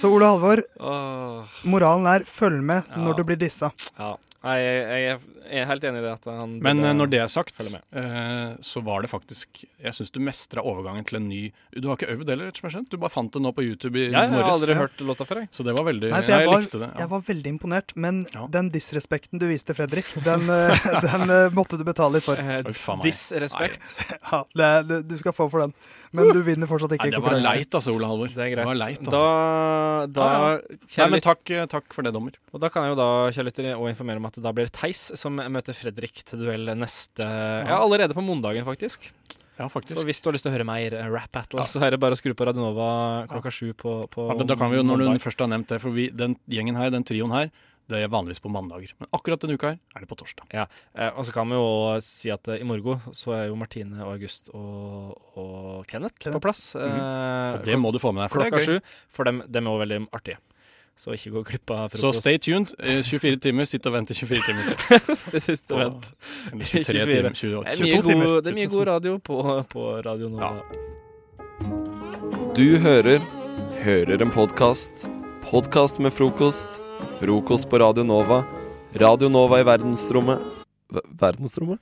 Så Ole Halvor,
Åh,
moralen er følg med
Ja.
når du blir dissa.
ja. Nei, jeg, jeg, er- jeg er helt enig i det at han
Men
burde-
eh, når det er sagt,
Følg med.
eh, så var det faktisk Jeg syns du mestra overgangen til en ny Du har ikke øvd heller, rett og slett? Du bare fant det nå på YouTube i
ja, Jeg har
morges.
aldri hørt låta før, jeg.
Så det var veldig
Nei, for
jeg,
jeg var-
likte det. Ja.
Jeg var veldig imponert, men
Ja.
den disrespekten du viste Fredrik, den, eh, den eh, måtte du betale litt for.
Eh,
Oi, faen meg.
Disrespekt.
Ja, det er, du, du skal få for den. Men du vinner fortsatt
Nei,
ikke
det var
konkurransen.
leit, altså, Ole Halvor.
Det er greit.
Det var leit, altså.
Da, da
Ja, Nei,
Kjære
men
lytter,
takk, eh, takk for det, dommer.
og da kan jeg jo da kjære lytter, og informere om at da blir det Theis som møter Fredrik til duell neste Ja, allerede på mandagen, faktisk.
Ja, faktisk.
Så hvis du har lyst til å høre mer eh, rap battle, så er det bare å skru på Radionova klokka sju på, på
Ja, men da kan vi jo, når
mandag.
du først har nevnt det, for vi, den gjengen her, den trioen her, det er vanligvis på mandager. Men akkurat denne uka her er det på torsdag.
Eh, og så kan vi jo si at eh, i morgen så er jo Martine og August og, og Kenneth,
Kenneth.
på plass. Eh,
Og det må du få med deg, for det
klokka
er gøy.
sju. For dem, dem er jo veldig artige. Så ikke gå glipp av frokost.
Så stay tuned. eh, 24 timer, sitt og vent i 24 timer.
Sist og vent.
Eller 23 timer. 20,
Det er
22
mye
timer.
god, det er mye god radio på, på Radio Nova.
Du hører Hører en podkast. Podkast med frokost. Frokost på Radio Nova. Radio Nova i verdensrommet. Ver- verdensrommet?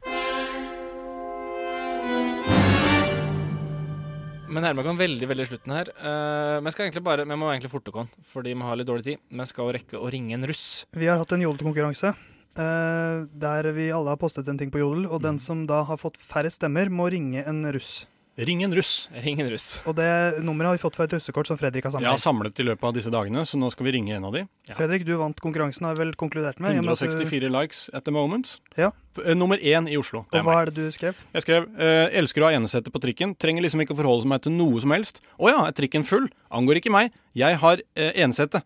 Vi nærmer oss veldig veldig slutten her. Eh, men skal egentlig bare, vi må egentlig forte oss, fordi vi har litt dårlig tid. Vi skal jo rekke å ringe en russ.
Vi har hatt en jodelkonkurranse eh, der vi alle har postet en ting på jodel, og den som da har fått færre stemmer, må ringe en russ.
Ring en russ.
Ring en russ.
Og det nummeret har vi fått fra et russekort som Fredrik har
Jeg har
samlet.
samlet i løpet av disse dagene, så nå skal vi ringe en av de.
ja.
Fredrik, du vant konkurransen, har jeg vel konkludert med? i og med at du-
164 likes at the moment.
Ja.
P- eh, Nummer én i Oslo. Det
Og
er
hva
meg.
er det du skrev?
Jeg skrev eh, 'Elsker å ha enesete på trikken'. Trenger liksom ikke å forholde meg til noe som helst. Å ja, er trikken full? Angår ikke meg. Jeg har eh, enesete.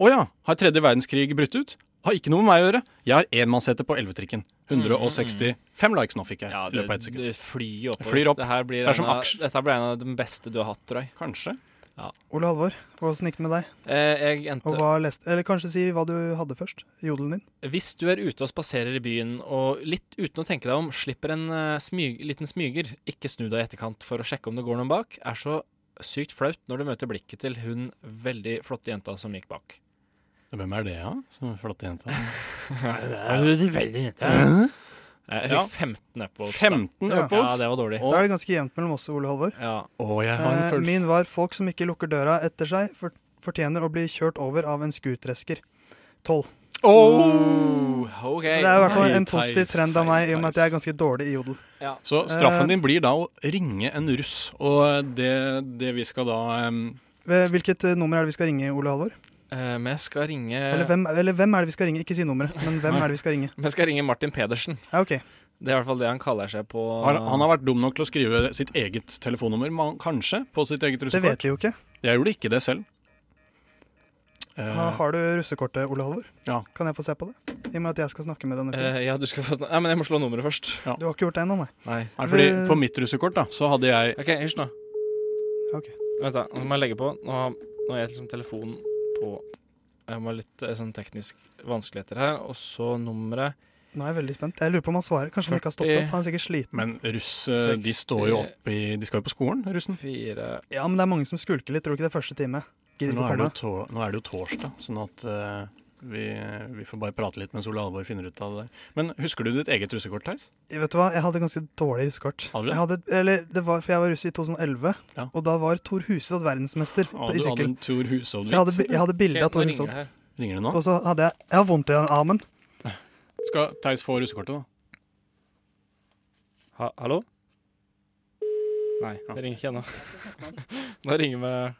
Å ja, har tredje verdenskrig brutt ut? Har ikke noe med meg å gjøre. Jeg har enmannssete på 11-trikken. 165 likes nå fikk jeg i løpet av ett sekund.
Mm-hmm. det flyr jo oppover.
Flyr opp.
Det her blir
Det er som
en av,
aksjer.
dette blir en av de beste du har hatt, tror jeg.
Kanskje.
Ole Halvor, hvordan gikk det med deg?
Eh, jeg endte
Og hva leste Eller kanskje si hva du hadde først? Jodelen din?
Hvis du er ute og spaserer i byen og litt uten å tenke deg om slipper en eh, smyg, liten smyger, ikke snu deg i etterkant for å sjekke om det går noen bak, er så sykt flaut når du møter blikket til hun veldig flotte jenta som gikk bak.
Hvem er det, da? Som flotte jenta?
Jeg
Ja.
fikk 15 upvotes. da.
15 upvotes?
Ja, det var dårlig.
Og-
Da er det ganske jevnt mellom oss, Ole Halvor.
Ja.
Å, jeg har en
Eh,
følelse
Min var folk som ikke lukker døra etter seg, for- fortjener å bli kjørt over av en skutresker. Tolv.
Åh,
OK.
Oh. Så det er i hvert fall en
Nice,
positiv
nice,
trend av meg, i og med at
nice.
jeg er ganske dårlig i jodel.
Så straffen din blir da å ringe en russ, og det, det vi skal da em,
Ved- Hvilket eh, nummer er det vi skal ringe, Ole Halvor?
Eh, men jeg skal ringe
Eller hvem, eller hvem er det vi skal ringe? Ikke si nummeret, men hvem er det vi skal ringe?
Men jeg skal ringe Martin Pedersen.
Ja, ok.
Det er i hvert fall det han kaller seg på
har, Han har vært dum nok til å skrive sitt eget telefonnummer, man, kanskje, på sitt eget
Det vet
russekort.
vi jo ikke.
Jeg gjorde ikke det selv. Eh,
Ha, har du russekortet, Ole Halvor?
Ja.
Kan jeg få se på det? I og med at jeg skal snakke med denne fyren.
Eh, Ja, du skal få snak- Nei, men jeg må slå nummeret først.
Du har ikke gjort det ennå, nei?
Nei.
nei, fordi på mitt russekort da, så hadde jeg
OK, hysj nå.
Ok.
Vent, da. Nå må jeg legge på. Nå har, nå har jeg liksom telefonen på Jeg må ha litt eh, sånn teknisk vanskeligheter her. Og så nummeret
Nå er jeg veldig spent. Jeg lurer på om han svarer. Kanskje han ikke har stått opp? Han er sikkert sliten.
Men russ, eh, de står jo opp i De skal jo på skolen, russen.
fire
Ja, men det er mange som skulker litt. Tror du ikke det er første time? Gidder
Nå
ikke å
er,
komme.
det jo to, nå er det jo torsdag, sånn at eh, vi, vi får bare prate litt mens Ole Alvor finner ut av det der. Men husker du ditt eget russekort, Theis?
Vet du hva, jeg hadde ganske dårlig russekort.
Hadde du det?
Jeg hadde, eller, det var, for jeg var russ i 2011,
Ja.
og da var Tor Hushovd verdensmester
Ja,
i
du hadde
sykkel.
en tur hushold
Så jeg hadde,
ditt.
bi- jeg hadde bilde av
Ok, nå
Tor
ringer det
Hushovd.
her.
Ringer det nå?
Og så hadde jeg Jeg har vondt i den armen.
Skal Theis få russekortet, da?
Ha, hallo? Nei,
Ja.
det ringer ikke ennå. Nå ringer vi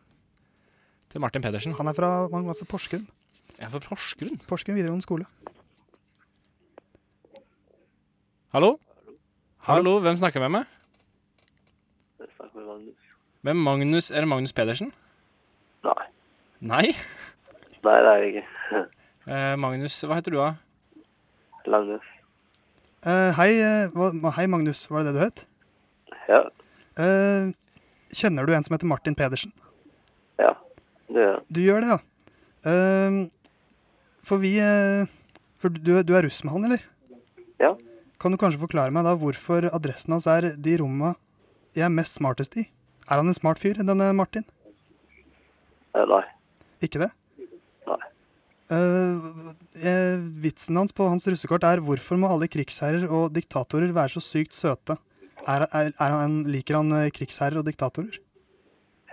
til Martin Pedersen.
Han er fra, han var fra Porsgrunn.
Jeg er fra Porsgrunn.
Porsgrunn videregående skole.
Hallo? Hallo, hvem snakker jeg med? Jeg snakker med Magnus. Hvem Magnus? Er det Magnus Pedersen?
Nei.
Nei?
Nei, det er jeg ikke.
Eh, Magnus, hva heter du da?
Langes.
Eh, hei, eh, hva- hei, Magnus. Var det det du het?
Ja,
Eh, kjenner du en som heter Martin Pedersen?
ja. Det er
Du gjør det, ja. Eh, for vi eh, For du, du er russ med han, eller?
Ja.
Kan du kanskje forklare meg da hvorfor adressen hans er de romma jeg er mest smartest i? Er han en smart fyr, denne Martin?
eh, Nei.
Ikke det?
Nei.
Eh, eh, vitsen hans på hans russekort er 'Hvorfor må alle krigsherrer og diktatorer være så sykt søte'? Er, er, er han, liker han eh, krigsherrer og diktatorer?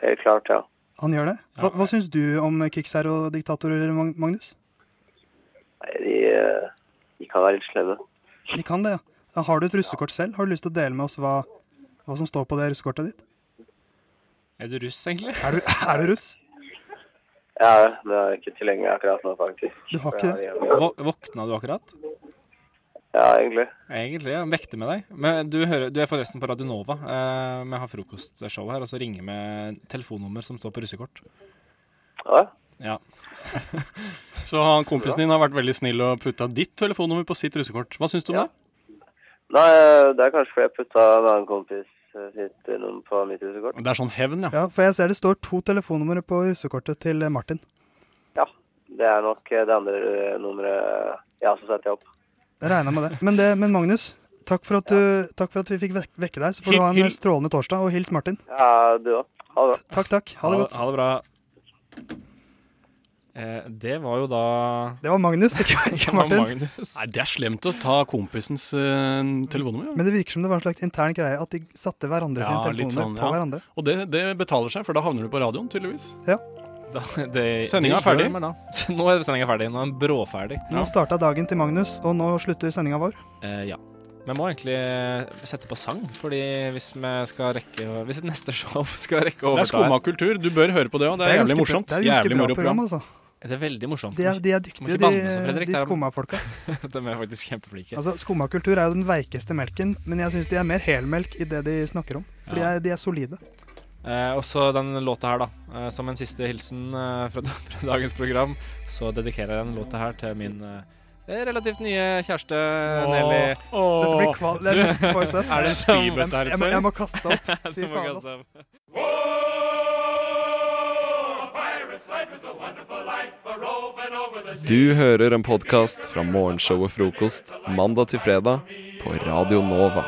Helt klart, ja.
Han gjør det? Hva, hva syns du om krigsherrer og diktatorer, Mag- Magnus?
Nei, de,
er,
eh, de kan være litt slemme.
De kan det, ja. Da Har du et russekort selv? Har du lyst til å dele med oss hva, hva som står på det russekortet ditt?
Er du russ, egentlig?
Er du, er du russ?
Ja, men jeg er ikke tilgjengelig akkurat nå, faktisk.
Du har ikke det?
Vå våkna du akkurat?
Ja, egentlig.
Egentlig, ja. Vekte med deg. Men du, hører, du er forresten på Radio Nova. Eh, vi har frokostshow her, og så ringer vi telefonnummer som står på russekort.
Ja,
Ja.
Så han, kompisen din har vært veldig snill og putta ditt telefonnummer på sitt russekort. Hva syns du om
Ja.
det?
Nei, eh, det er kanskje fordi jeg putta en annen kompis eh, sitt nummer på mitt husekort.
Det er sånn hevn, ja.
Ja, for jeg ser det står to telefonnumre på russekortet til eh, Martin.
Ja, det er nok eh, det andre eh, nummeret jeg også setter opp.
Jeg regner med det. Men, det, men Magnus, takk for at, du, takk for at vi fikk vek vekke deg. Så får du ha en
Hil- hil-
strålende torsdag, og hils Martin.
Ja, du òg. Ha det bra.
Takk, takk. Ha det godt.
Ha det bra. Eh, det var jo da
Det var Magnus, ikke, ikke Martin.
Magnus.
Nei, Det er slemt å ta kompisens eh, telefonnummer. Ja.
Men det virker som det var en slags intern greie at de satte hverandre
Ja,
sine
litt
telefoner
sånn,
på
ja.
hverandre.
Og det, det betaler seg, for da havner du på radioen, tydeligvis.
Da, det,
Sendinga er
det gjør
ferdig.
meg da. Nå er sendinga ferdig. Nå er den bråferdig.
Nå starta dagen til Magnus, og nå slutter sendinga vår.
Eh, ja. Vi må egentlig eh, sette på sang, fordi hvis vi skal rekke å- Hvis et neste show skal rekke å
Det er skumma
overta
kultur. Du bør høre på det òg. Det er,
ganske
jævlig
bra-
morsomt.
Det er et ganske
jævlig
bra
moro
program,
program.
altså.
Det er veldig morsomt.
De er, de er
Du må
dyktige,
ikke banne så,
de,
Fredrik,
de
det er-
skumma folka.
De er faktisk kjempeflinke.
Altså, Skumma kultur er jo den veikeste melken, men jeg syns de er mer helmelk i det de snakker om. For de,
Ja.
er, de er solide.
Eh, og så den låta her, da. Eh, som en siste hilsen eh, fra, da- fra dagens program, så dedikerer jeg den låta her til min eh, relativt nye kjæreste Nelly.
Dette blir
Åh,
kval... Det er nesten for søtt.
er det en spybøtte her
Jeg,
et
må- jeg
sted?
må kaste opp. Fy
Du må
faen,
kaste
ass.
av.
Du hører en podkast fra morgenshowet Frokost mandag til fredag på Radio Nova.